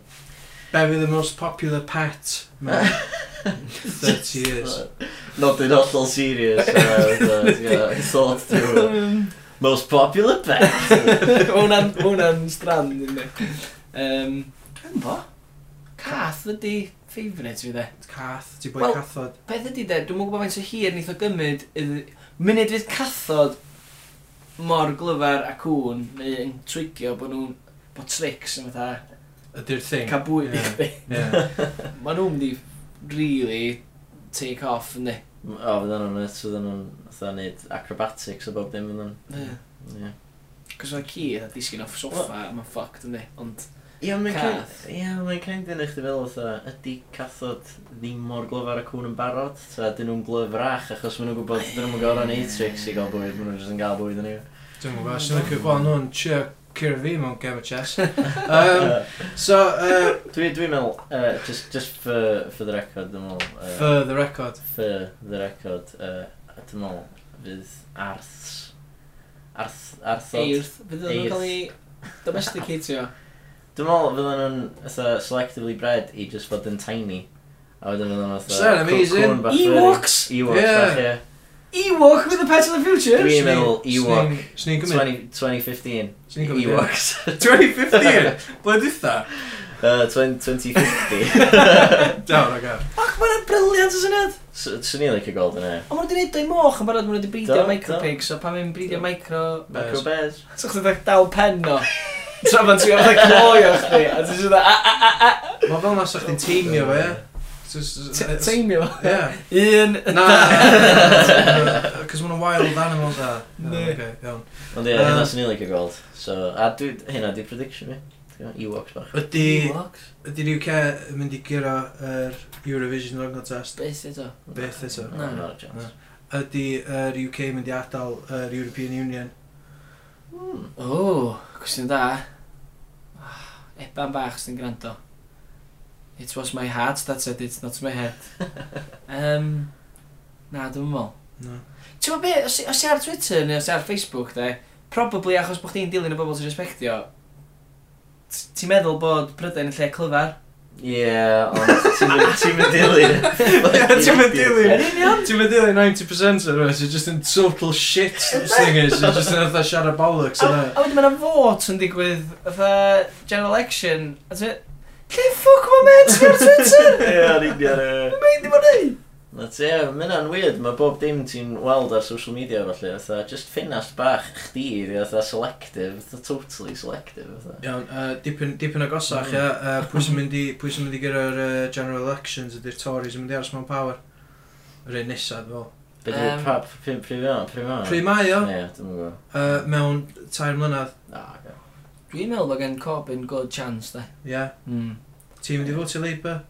Be fydd y most popular pet mewn 30 years?
Not in hollol serious. uh, but, yeah, Thought through. Most popular bet.
Ma' hwnna'n ma' hwnna'n strand, ynddi. Um, Dwi'n bo? Cath ydi favourite fi, de.
Cath, ti boi
Wel-
cathod.
Beth ydi, de? Dwi'n mwyn gwybod faint o hir wnaeth o gymryd iddi... Munud fydd cathod mor glyfar a cwn, neu yn trigio bod nhw'n... bod tricks yn fatha...
Ydy'r thing.
Ca bwyd i
Ie.
chdi.
Ie.
Mae nhw'n mynd i really take off
O,
yn
fydden nhw'n nuts, fydden nhw'n fatha neud acrobatics o bob dim yn
Ie.
nhw'n. Ie.
Cos mae ci a disgyn off soffa a mae'n fucked yn di Ond
Ie, mae'n kind...
Cath.
Ie, mae'n kind yn eich ddifil oedd ydy cathod ddim mor glyf ar y cwn yn barod? Ta, dyn nhw'n glyfrach achos maen nhw'n gwybod dyn nhw'n gorau neud tricks i gael bwyd, maen nhw'n jyst yn gael bwyd yn ei.
Dwi'n gwybod, sy'n lycio gweld nhw'n trio cyrra fi mewn gem o chess. Um, so, uh,
Dwi, dwi'n meddwl, uh, just, just for, for the record, dwi'n meddwl, uh,
for the record.
for the record, uh, dwi'n meddwl, fydd arths, arth, arthod.
Eirth, fydd nhw'n cael ei domesticatio.
Dwi'n meddwl, fydden nhw'n fatha, selectively bred i just fod yn tiny. A wedyn fydden nhw'n fatha...
Sound
cw-
amazing.
cŵn bach
Ewoks!
furry. Ewoks,
Yeah.
bach, ie.
Ewok with a pet of the future!
Dwi'n meddwl Ewok.
Swn i'n gymryd.
20- 2015.
Swn i'n gymryd.
Ewoks.
2015? Bled eitha?
Uh, 20- 2050.
Dawn, o'r gael.
Ac mae'n briliant o syniad!
S- Swn i'n licio e. gweld yna.
Ond maen nhw wedi gwneud dwy moch yn barod, maen nhw wedi
Do,
breedio
do.
micropigs, so pan mae'n breedio micro...
Micro
Bears.
bears.
So chdi ddech dal pen no. Tra ma'n trio fatha cloio chdi, a ti'n siŵr a a a a
Mae fel nas o'ch ti'n teimio fe. Just-
T-
it's-
Teimio.
Yeah.
Un.
Na, cos mae'n wild animals a.
Ne.
Okay, iawn.
Ond ie,
Yy.
hynna swn i'n licio gweld. So, a dwi, hynna di prediction mi. Ti'n gwbod, Ewoks bach.
Ydy,
Ewoks?
ydy'r UK yn mynd i gyro yr Eurovision Rock Contest?
Beth eto?
Beth eto?
No,
Na.
not a chance.
Ydy yr UK mynd i adael yr European Union?
Hmm.
O, cwestiwn da. Ah, Eban bach sy'n gwrando. It was my heart that said it, not my head. um, na, dwi'n meddwl.
No.
Ti'n meddwl be, os, os ti ar Twitter neu os ti ar Facebook, de, probably achos bod chdi'n dilyn y bobl sy'n respectio, t- ti'n meddwl bod Prydain yn lle clyfar?
Ie, ond ti'n mynd- ti'n mynd dilyn.
Ti'n mynd dilyn.
Yn union!
Ti'n mynd dilyn 90% o'r rhaid, just yn total shit slingers, sy'n just yn eitha siarad bollocks yna.
A wedyn mae'n fod yn digwydd, fatha general election, a ti'n meddwl, lle ffwc mae meds fi ar Twitter?
Ie, yn union. ie.
Mae'n ddim yn ei!
Na ti, ie, mae hynna'n weird, mae bob dim ti'n weld ar social media falle, fatha, just ffinas bach chdi, ydi, fatha selective, fatha totally selective, fatha.
Iawn, yy, dipyn, dipyn agosach,
Mm.
ia. Yy, Pwy sy'n mynd i, pwy sy'n mynd i gyda'r yy, general elections ydy'r Tories yn mynd i aros mewn power? Yr un nesaf, fel.
Be
Yym.
dwi'n prap, prif mewn, prif mewn.
Pryd mae o,
Ie, dwi'n gwybod.
yy, mewn tair mlynedd,
Na, oce.
Dwi'n meddwl bod gen Corbyn good chance, de.
ia.
Mm.
Ti'n mynd i fod i Labour?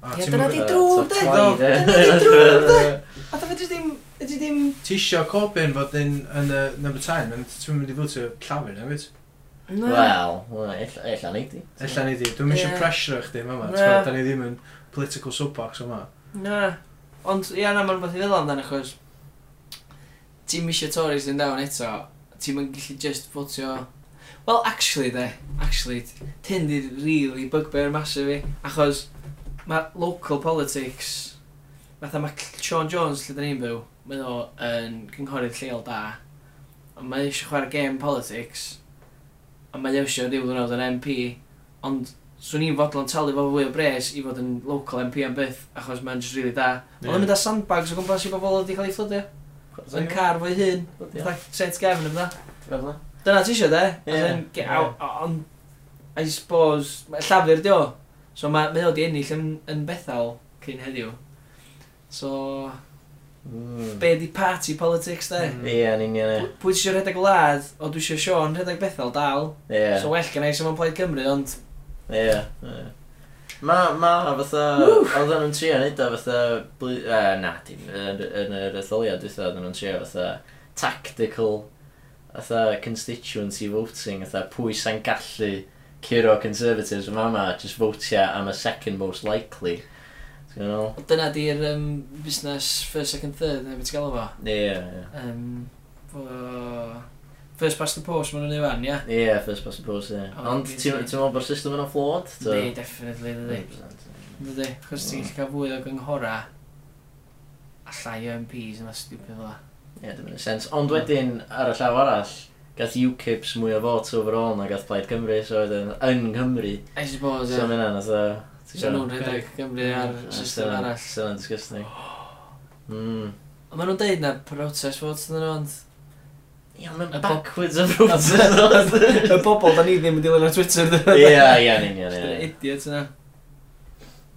A
Ie,
ti'n
dyna
mynd-
di drwg, de. Dyna di drwg, de. A dyma di ddim, ydy ddim...
Ti isio Corbyn fod yn, yn y number 10, ond ti'n mynd i fod i Llafur, nefyd?
Wel, wel, ella- ella neud i.
Ella ni di, dwi'n eisiau
Ie.
pressure chdi, mama.
Na.
Ti'n da ni ddim yn political soapbox yma.
Na. Ond, ia, na, mae'n fath i feddwl amdano, achos... Ti'n misio Tories yn dawn eto, ti'n mynd gallu just fotio... Wel, actually, de, actually, tyn di really bugbear masif fi, achos mae local politics, fatha mae Sean Jones, lle da ni'n byw, mae o yn cynghorydd lleol da, ond mae eisiau chwarae game politics, a mae eisiau rhyw ddwrnod yn MP, ond swn i'n fodlon talu fo fwy o bres i fod yn local MP am byth, achos mae'n just really da. Ond yn mynd â sandbags o gwmpas i bobl wedi cael ei fflydio, yn car fo'i hun, fatha set gefn yn fydda.
Cyfle.
Dyna ti eisiau, de?
Ie.
As in, get
Ie.
out, o- Ond, I suppose, mae llafur di o. So mae mae o di ennill yn, yn bethau cyn heddiw. So, be di party politics, de?
Mm.
Mm. Ie, yn union e.
Pw- Pwy ti eisiau rhedeg y wlad, o dwi eisiau Sean rhedeg bethau dal,
Ie,
so well gen i sy'n mynd plaid Cymru, ond...
ie. ie. Ma, ma, fatha, oedden nhw'n trio neud o fatha, bly- yy, na, dim, yn yn yr etholiad dwi'n oedden nhw'n trio fatha tactical, fatha constituency voting, fatha pwy sa'n gallu curo Conservatives yma yma, just votio am y second most likely. Ti'n gwybod?
Dyna di'r um, busnes first, second, third, neu beth ti'n gael o fo.
Ie, ie.
Um, fo... First past the post, maen nhw'n ei fan, ia?
Ie, first past the post, ie.
Oh,
Ond
ie,
ti'n
ie.
ti'n meddwl bod system yna'n flawed? ta?
Neu, definitely, dydy.
100%, ie.
Dydy, chos ti'n gallu cael fwy o gynghora a llai o MPs yna stupid fel 'na.
Ie, dim yn y sens. Ond wedyn, ar y llaw arall, gath UKIPs mwy o votes overall na gath Plaid Cymru, so wedyn, yn Cymru.
I suppose,
So
ie.
mae hynna'n fatha... ti'n
So nhw'n
gwbod?
rhedeg Gymru ar
Ie,
system
sy'n-
arall.
sy'n yn disgusting. Mm.
Ond maen nhw'n deud na protest votes yn nhw, ond...
Ie, mae'n
Y bob-
backwards yn rhywbeth.
Y bobl, da ni ddim yn dilyn ar Twitter, dyn
Ie, ie, yn union,
Yr
ie.
idiot yna.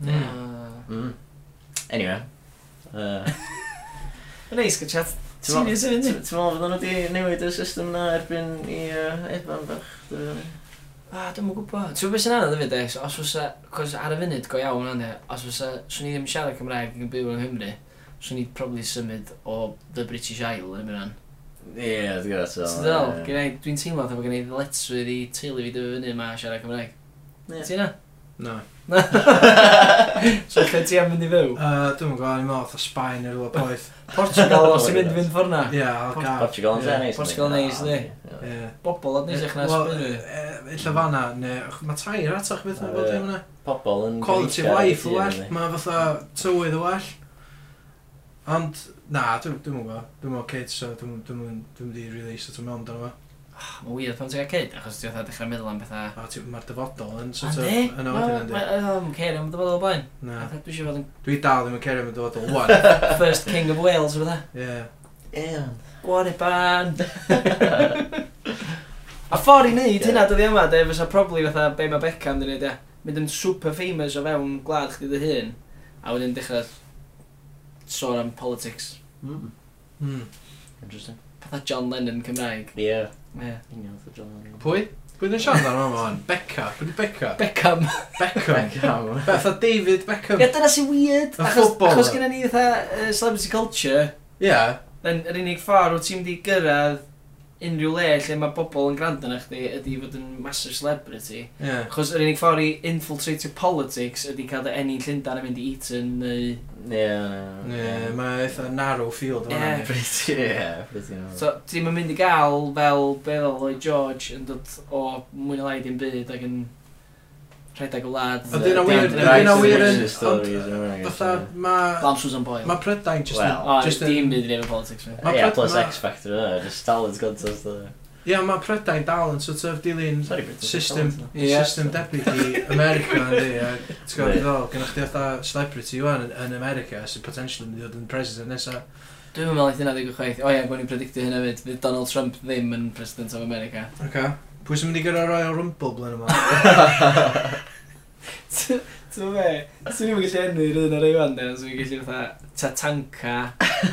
Ah.
Mm. Anyway. Uh,
Mae'n neis gael chat.
Ti'n meddwl-
Serious yn
Ti'n
mynd.
ti'n meddwl fod nhw wedi newid y system na erbyn i uh, Eban bach? dwi'n meddwl?
A, dwi'n mwyn gwybod. Ti'n gwybod beth sy'n anodd hefyd, e? Os fysa, cos ar y funud go iawn hwnna, e, os fysa, swn i ddim yn siarad Cymraeg yn byw yng Nghymru, swn i probably symud o The British Isle yn mynd.
Ie, dwi'n gwybod.
So, Still, yeah. dwi'n teimlo efo gen i ddyletswydd i teulu fi dyfu fyny yma a siarad Cymraeg.
Ie.
Ti na?
No.
So, lle ti am mynd i fyw?
Uh, Dwi'n gwybod, ni'n meddwl, oedd Sbaen i'r lwb oedd.
Portugal, os ti'n mynd i fynd ffwrna.
Ie, oedd gael.
Portugal yn
Ah,
Ah,
Ie.
neis.
Portugal yn neis, yndi?
Ie.
Bobl, oedd nes eich na
Wel,
Sbaen.
yy, Illa fanna, ne, mae tai yr atach beth yn
Yy,
bod yn hwnna.
Pobl yn...
Quality of life yn well, mae fatha tywydd yn well. Ond, na, dwi'n dwi gwybod, dwi'n gwybod kids, so dwi'n dwi'n di really sort of mewn dyna fo.
Mae'n weird pan ti'n cael kid, achos ti'n fatha dechrau meddwl am bethau.
A ti- mae'r dyfodol yn
A
sort of
ne?
yn
Ma-
oedden yn di.
ma- Yym, ceir, am dyfodol o blaen.
Na,
A dwi eisiau fod yn
dwi dal ddim yn cerio mewn dyfodol, one.
first king of Wales, fydda.
Ie.
Ie.
Gwan i ban! A ffordd i wneud hynna dyddi yma, de, fysa probably fatha be mae Beckham di wneud, e. Mynd yn super famous o fewn gwlad chdi dy hun, a wedyn dechrau sôn am politics.
Mm,
Hmm.
Interesting.
Fatha John Lennon Cymraeg.
Ie.
Yeah.
Union for John Lennon.
Pwy? Pwy ddim siarad ar yma fan? Becca? Pwy di Becca?
Beckham.
Beckham. Beth o David Beckham?
Ie, dyna sy'n weird.
Y
Achos,
footballer.
achos gyda ni fatha uh, celebrity culture,
Ie.
Yn yr unig ffordd wyt ti'n mynd i gyrraedd unrhyw le lle mae bobl yn gwrando na chdi ydy i fod yn massive celebrity.
Ie.
Achos yr unig ffordd i infiltrate your politics ydy cael dy enni Llundain yn mynd i Eton neu...
Ie.
Ie, Mae eitha narrow field o'n
Ie.
hynny.
Pretty, ie. Pretty normal.
So ti'n mynd i gael fel beth oedd Lloyd George yn dod o mwy na lai dim byd ac yn rhedeg y wlad.
Ydy hynna
Dim-
wir-
dim
ydy hynna
rights,
wir
dim
yn-
issues.
Fatha, mae...
Lam Susan Boyle.
Mae Prydain just yn...
Wel,
O,
just
dim
yn...
byd i neud efo politics. fe.
Ma'
Ie,
Pryd-
plus
ma'-
X Factor yna, just talent contest yna.
Ie, mae Prydain dal yn sort of dilyn
Sorry, British
system,
talent,
Ie.
system debyg i America yn di. a Ti'n gwybod
Ie.
beth ddol, gynnwch chi fatha celebrity ywan yn- yn America sy'n potentially mynd i ddod yn president nesaf.
Dwi'n meddwl eithaf yna ddigwydd chwaith. O ie, bod ni'n predictio hynna fyd. Fydd Donald Trump ddim yn President of America.
Oce. Pwy sy'n mynd i gyrra Royal Rumble blyn yma?
Ti'n fe, swn i'n gallu enni'r un ar ei fan de, swn i'n gallu fatha Tatanka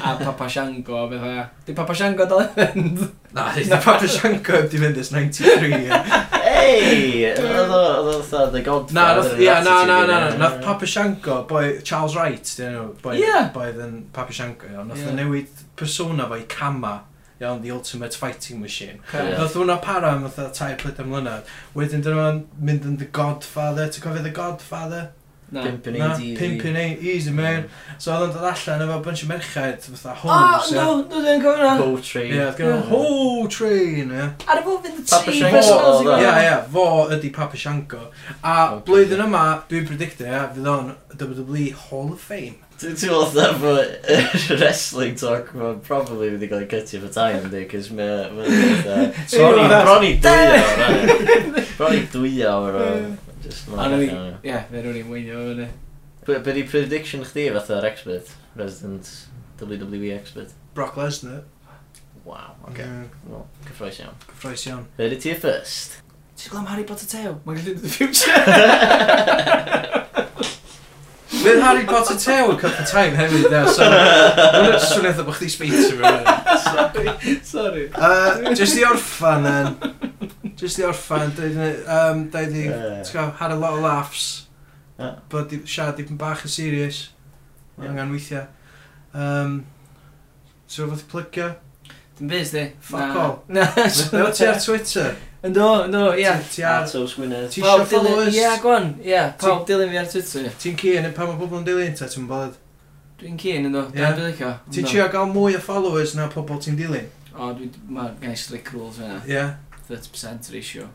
a Papashango a beth fa. Di Papashango dal e? yn
Na, na Papashenko di fynd ys 93. ie.
Ei! Oedd o oedd o fatha The Godfather.
Na, nath- ie, na, na, na, na,
attitude yna.
nath Papashenko, boi, Charles Wright, dyn nhw, boi,
Ie.
boi yn Papashenko, iawn, nath
Ie.
o newid persona fo i Kama, iawn, the ultimate fighting machine.
Ie.
Nath hwnna para am fatha tai plyd am mlynedd, wedyn dyn nhw'n mynd yn The Godfather, ti'n cofio The Godfather?
Na.
Pimpin'
Na,
80s.
Pimpin' Eight Easy, man. So oedd o'n dod allan efo bunch o merched, fatha
O,
hoes,
no,
ie.
no, dwi'n cofio na.
Bow Train.
Ie, oedd gen nhw whole train, ie.
Ar y bod fynd y tri
Papashango
personals i
oedd o.
Ie,
gael.
ie, fo ydi Papashenko. A
Ocê.
blwyddyn yma, dwi'n predictio, ie, fydd o'n WWE Hall of Fame.
Dwi'n teimlo fatha bod wrestling talk ma'n probably wedi cael ei cutio for time, di, cys mae... Sorry,
Ie,
bron i dwy awr. Bron i dwy awr o... Just uh,
A
ma'n
nhw i,
allan.
ie, fe rwy'n i'n weinio fo fyny.
Be be di prediction chdi fatha'r expert? Resident WWE expert?
Brock Lesnar.
Wow,
Ie,
oce.
Mm.
Wel, cyffroes iawn.
Cyffroes iawn.
Be di ti first?
Ti'n gweld am Harry Potter Teo? Mae'n gallu dod y future.
Fydd Harry Potter Teo yn cyffa time hefyd, ie, so... Mae'n swnio eitha bod chdi speech yn rhywun.
Sorry.
Yy, Jyst i orffan, yn. Jyst i orffan, dweud um, dweud i...
Ie.
Ti'n gael, had a lot of laughs.
Ie.
Bod i siarad dipyn bach yn serious.
Ie.
Mae angen weithiau. Um, so, fath i plygio?
Dim bus di.
Fuck
Na.
all.
Na.
Neu o ti ar Twitter?
Ynddo, ynddo, ie.
Ti- Ti ar...
Atos Gwynedd.
Ti isio
Pawb Oh, dilyn-
followers?
Ie, gwan, ie. Pawb
Ti-
dilyn fi ar Twitter.
Ti'n cyn, pan mae pobl yn dilyn ta, ti'n bod?
Dwi'n cyn ynddo,
Ie.
dwi'n dwi'n licio.
Ti'n
Ynddo.
trio gael mwy o followers na pobl ti'n dilyn?
O, dwi... Mae gen i strict rules fyna.
Ie.
30% ratio.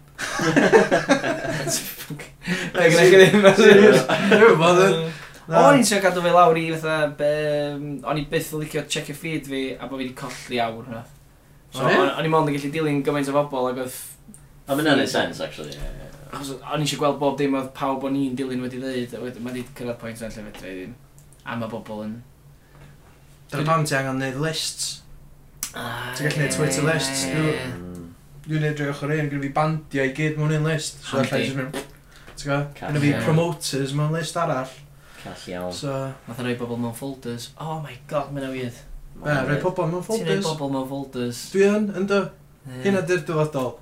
Mae gen i ddim
Serious? Dwi'n bod yn...
O, o'n i'n trio cadw fe lawr i fatha... be- yym, O'n i byth yn licio check y feed fi a bod fi wedi colli awr hwnna.
O,
So,
ie?
o'n o'n i'n mond yn gallu dilyn gymaint o bobl ac oedd...
A mae'n anodd sense, actually. ie, ie.
Achos o'n i eisiau gweld bob dim oedd pawb o'n i'n dilyn wedi ddeud. a wedyn- Mae wedi cyrraedd pwynt yn lle fedra i ddim. A mae bobl yn...
Dyna pam ti angen neud lists.
Ah,
Ti'n gallu neud Twitter lists,
Ie.
Mm.
Dwi'n edrych ochr un, gyda fi bandiau i gyd mewn un list. So,
Handi.
allai jyst mynd... Ti'n gwybod?
Cash,
Gyda fi
ie.
promoters mewn list arall.
Call iawn.
So,
Nath o'n rhoi bobl mewn folders. Oh my god, mae'n weird.
be, rhaid pobl mewn
Ti'n rhoi
folders.
bobl mewn folders.
Dwi yn, ynddo.
Ie.
Hyn ydy'r dyfodol.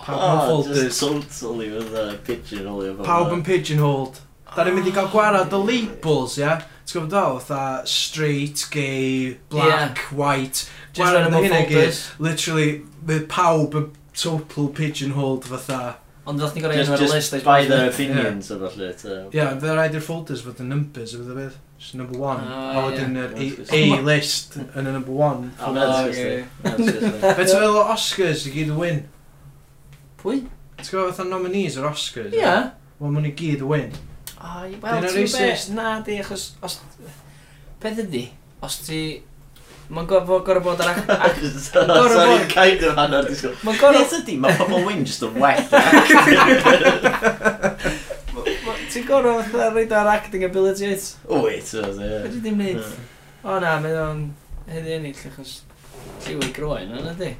Pawb yn
Ah, just
folders.
totally fatha pigeonhole o
Pawb yn pigeonholed. Da ni'n mynd i gael gwarad o labels, ia? Ti'n gwybod dal? Fatha straight, gay, black, white.
Just
Gwarad
random
o hynna i gyd.
folders.
Literally, mae pawb yn total pigeonholed fatha.
Ond ddod ni'n gorau
Just,
enw ar y
just
list.
by their opinions yeah. efallai,
Ie, yeah, fe rhaid i'r folders fod yn numbers, yw beth? Just number one.
Ah,
a wedyn
ie.
yr A- A-list yn y number one.
A mae'n
okay.
disgusting.
Fe ti'n meddwl o Oscars i gyd y win?
Pwy?
Ti'n gwybod fatha nominees o'r Oscars?
Ia.
Wel, maen nhw i gyd y win.
Ai,
Dyn
wel,
nhw'n
ti'n gwbod
racist?
be? Na, di, achos... Os... Peth ydi? Os ti... Mae'n gorfod gorfod bod ar... ac- ac- Gorfod
Sorry,
bod-
kind of hanner disgwyl.
Mae'n
Nes
gorfod...
ydi, mae pobl wyn just yn well.
ma- Ti'n gorfod fatha reid ar acting ability it.
Wyt, so,
Fedri
Oh, ie.
ddim neud. O na, mae o'n... Hynny ennill, achos... Lliw i groen, yna di.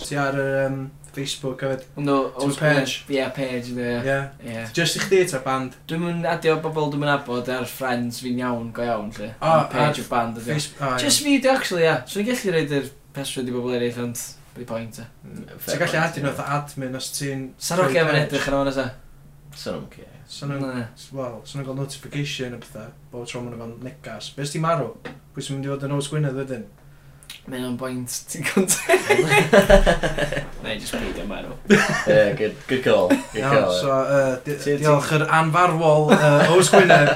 Ti ar yr um, Facebook hefyd.
Hwnnw...
To page.
Ia, page, di.
Ie.
ie.
Yeah.
Ie.
Just i chdi ta'r band.
Dwi'n mynd adio bobl dwi'n mynd abod ar friends fi'n iawn, go iawn, lle.
O,
Ond page
ar
o band, ydi.
Facebook. Oh,
Just fi, di, actually, ia. Swn i'n gallu reid yr password i bobl eraill, ond... Be point, e.
Hmm,
Ti'n gallu adyn oedd admin os ti'n...
Sarog efo'n edrych yn o'n asa.
Sa'n o'n cair.
So nhw'n... Wel, so nhw'n gael notification a pethau. Bob tro maen nhw'n gael negas. Be ti'n marw? Pwy sy'n mynd i fod yn Oes Gwynedd wedyn?
Mae o'n boint, ti'n content. Na, i just peidio marw.
Ie, good good call. Good
Iawn,
call.
so uh, di-
Ti- ti-
diolch yr anfarwol uh, Oes Gwynedd.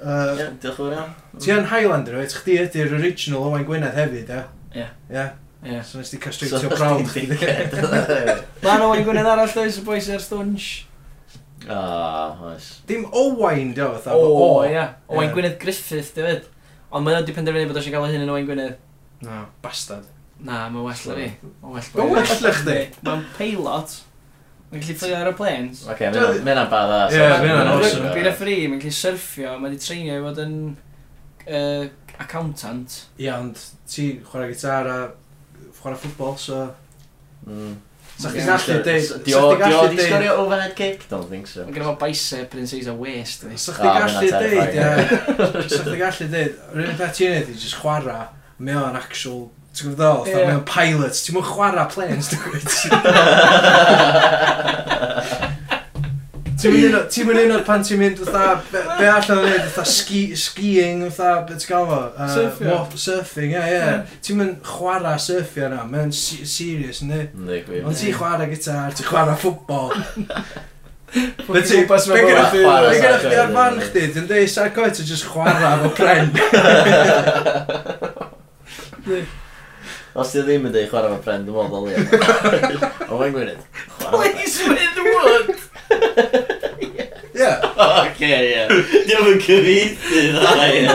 ie.
Uh,
Ie, Diolch yn fawr iawn.
Ti yn Highlander, wyt? Chdi ydy'r original Owain Gwynedd hefyd, ie?
Ie.
Ie.
Ie.
So nes ti cael
So,
straight to brown.
chdi'n dickhead.
Mae'n o'n gwneud arall, does y boes ar stwnsh.
Ah, oes.
Dim Owain, dio, fatha.
O,
O,
ia. Owain
Ie.
Gwynedd Griffith, di fyd. Ond mae'n wedi penderfynu bod eisiau gael ei hun yn Owain Gwynedd.
Na, bastard.
Na, mae'n well na fi. Mae'n well
Mae'n well na chdi.
Mae'n peilot. Mae'n gallu fflio aeroplanes.
Ok, mae'n mynd badass.
Ie, ma'
Mae'n-
hynna'n
mae'n
awesome.
awesome.
Bydd y ffri, mae'n gallu surfio, mae'n wedi treinio i fod yn yy, accountant.
Ie, ond ti chwarae gitar a chwarae ffwbol, so...
Mm.
Sa
chdi'n
gallu deud-
Dio-
sa chdi'n gallu
dio- di
deud-
sgorio overhead kick? Don't think so.
Mae'n gyda fo bicep yn seis a waist. di.
Sa
O,
chdi
ma'
gallu
hynna'n
deud, ie.
terrifying.
Sa chdi gallu deud, yr unig beth ti'n neud i just chwarae, mae o'n actual... Ti'n gwybod ddol?
Ie.
Yeah. Mae o'n pilot. Ti'n mwyn chwarae planes, dwi'n gwybod? Ti'n mynd un o- ti'n mynd un o'r pan ti'n mynd fatha... Be be allan o'n neud? Fatha ski, skiing, fatha... Be ti'n gael fo? Uh,
Surfio.
mo- Surfing, ie, ie. Ti'n mynd chwarae surfio na. Mae'n se- serious, ynddi?
Yndi, gwir.
Ond ti'n chwarae gitar, ti'n chwarae ffwbol. Be
Fucking
ti'n
gwmpas
gwybod? Be gyda
ma' fo.
chdi-
Chwarae
be gyda chdi ar fan chdi?
sarcoid, yndi.
Dwi'n dweud sarcoed ti'n just chwarae fo pren.
Os ti ddim yn dweud chwarae fo pren, dwi'n meddwl ddolia. O, mae'n gwynydd.
Please, with wood!
Ie.
Oce, ie. Diolch yn cyfeithi, dda, ie.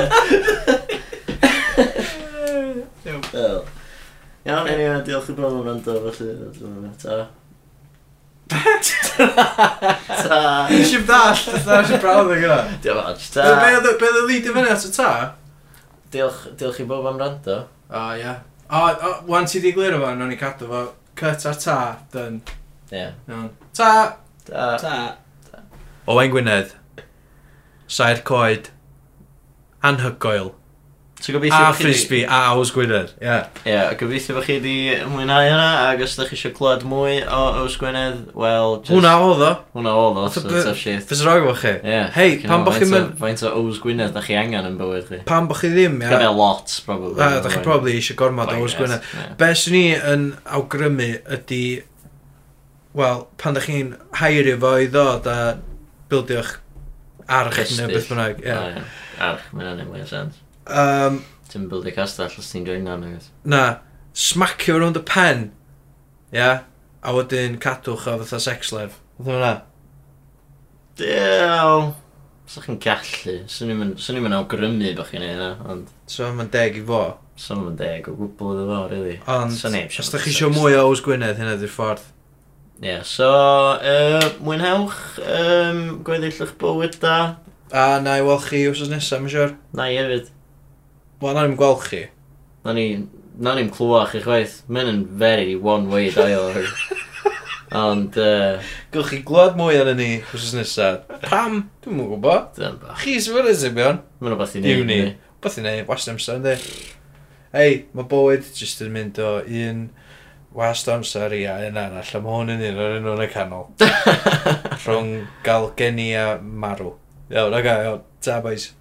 Wel. Iawn, anyway, diolch i bawb am rando, felly. dyna ni. Ta. Ta.
Nes i'n dall, fatha nes i'n brawd o'n gyda.
Diolch fawr.
Be
Ta.
oedd y- be oedd y lead i fyny at y ta?
Diolch, diolch i bawb am rando.
O, ie. O, o, wan ti di glirio fo, no'n i cadw fo. Cut a ta, dyn.
Ie.
Iawn. Ta!
Ta.
Ta.
Owain Gwynedd. Saer Coed. Anhygoel. A
Ti'n gobeithio bod chi 'di-
Frisbee. A Ows Gwynedd.
Ie.
Ie, gobeithio bod chi wedi mwynhau hwnna, ac os ydych chi eisiau clywed mwy o Ows Gwynedd, wel... just-
Hwna oedd o.
Hwna oedd o, so
Fatha be-
tough shit.
Fes rog efo chi.
Ie.
Hei, pan bo' chi'n mynd...
Faint o Ows Gwynedd da chi angen yn bywyd chi?
Pan bo' chi ddim,
Yeah.
ia.
Gael lot, probably.
A, da chi probably eisiau gormod o Ows Gwynedd. Be sy'n ni yn awgrymu ydy, wel, pan da chi'n hairio fo i ddod a bildio'ch arch neu beth bynnag. Yeah.
Yeah. Arch, mae'n anodd mwy o sens.
Um,
Ti'n bwyd i castell os ti'n join o'n agos.
na, smacio fo rownd y pen, ia, yeah? a wedyn cadwch o fatha sex lef. Fyddwn yna.
Dew! Sa chi'n gallu. Swn i'n mynd awgrymu bod chi'n ei ond...
So mae'n deg i fo.
Swn i'n deg o gwbl iddo fo, really.
Ond,
Sa neb isio
os da chi
sex.
eisiau mwy o Ows Gwynedd, hynna di'r ffordd.
Ie, yeah, so, uh, mwynhewch, um, gweddill eich bywyd da.
A na i weld chi wrsos nesaf, mae'n siwr.
Na i hefyd.
Wel, na ni'n gweld chi.
Na ni, na ni'n clywach i chwaith. Mae'n yn very one-way dialogue. Ond, uh,
Gwch chi glod mwy arnyn ni wrsos nesaf. Pam? Dwi'n mwyn gwybod.
dyna'n bach.
Chi sy'n fyrdd sy'n bion.
Mae'n rhywbeth i ni.
Uni. Beth i neud, wastad amser, ynddi? Ei, mae bywyd jyst yn mynd o un
wast amser i a un arall, a mae hwn yn un o'r un o'n y canol. Rhwng gael geni a marw. Iawn, o'r gael, iawn, ta boys.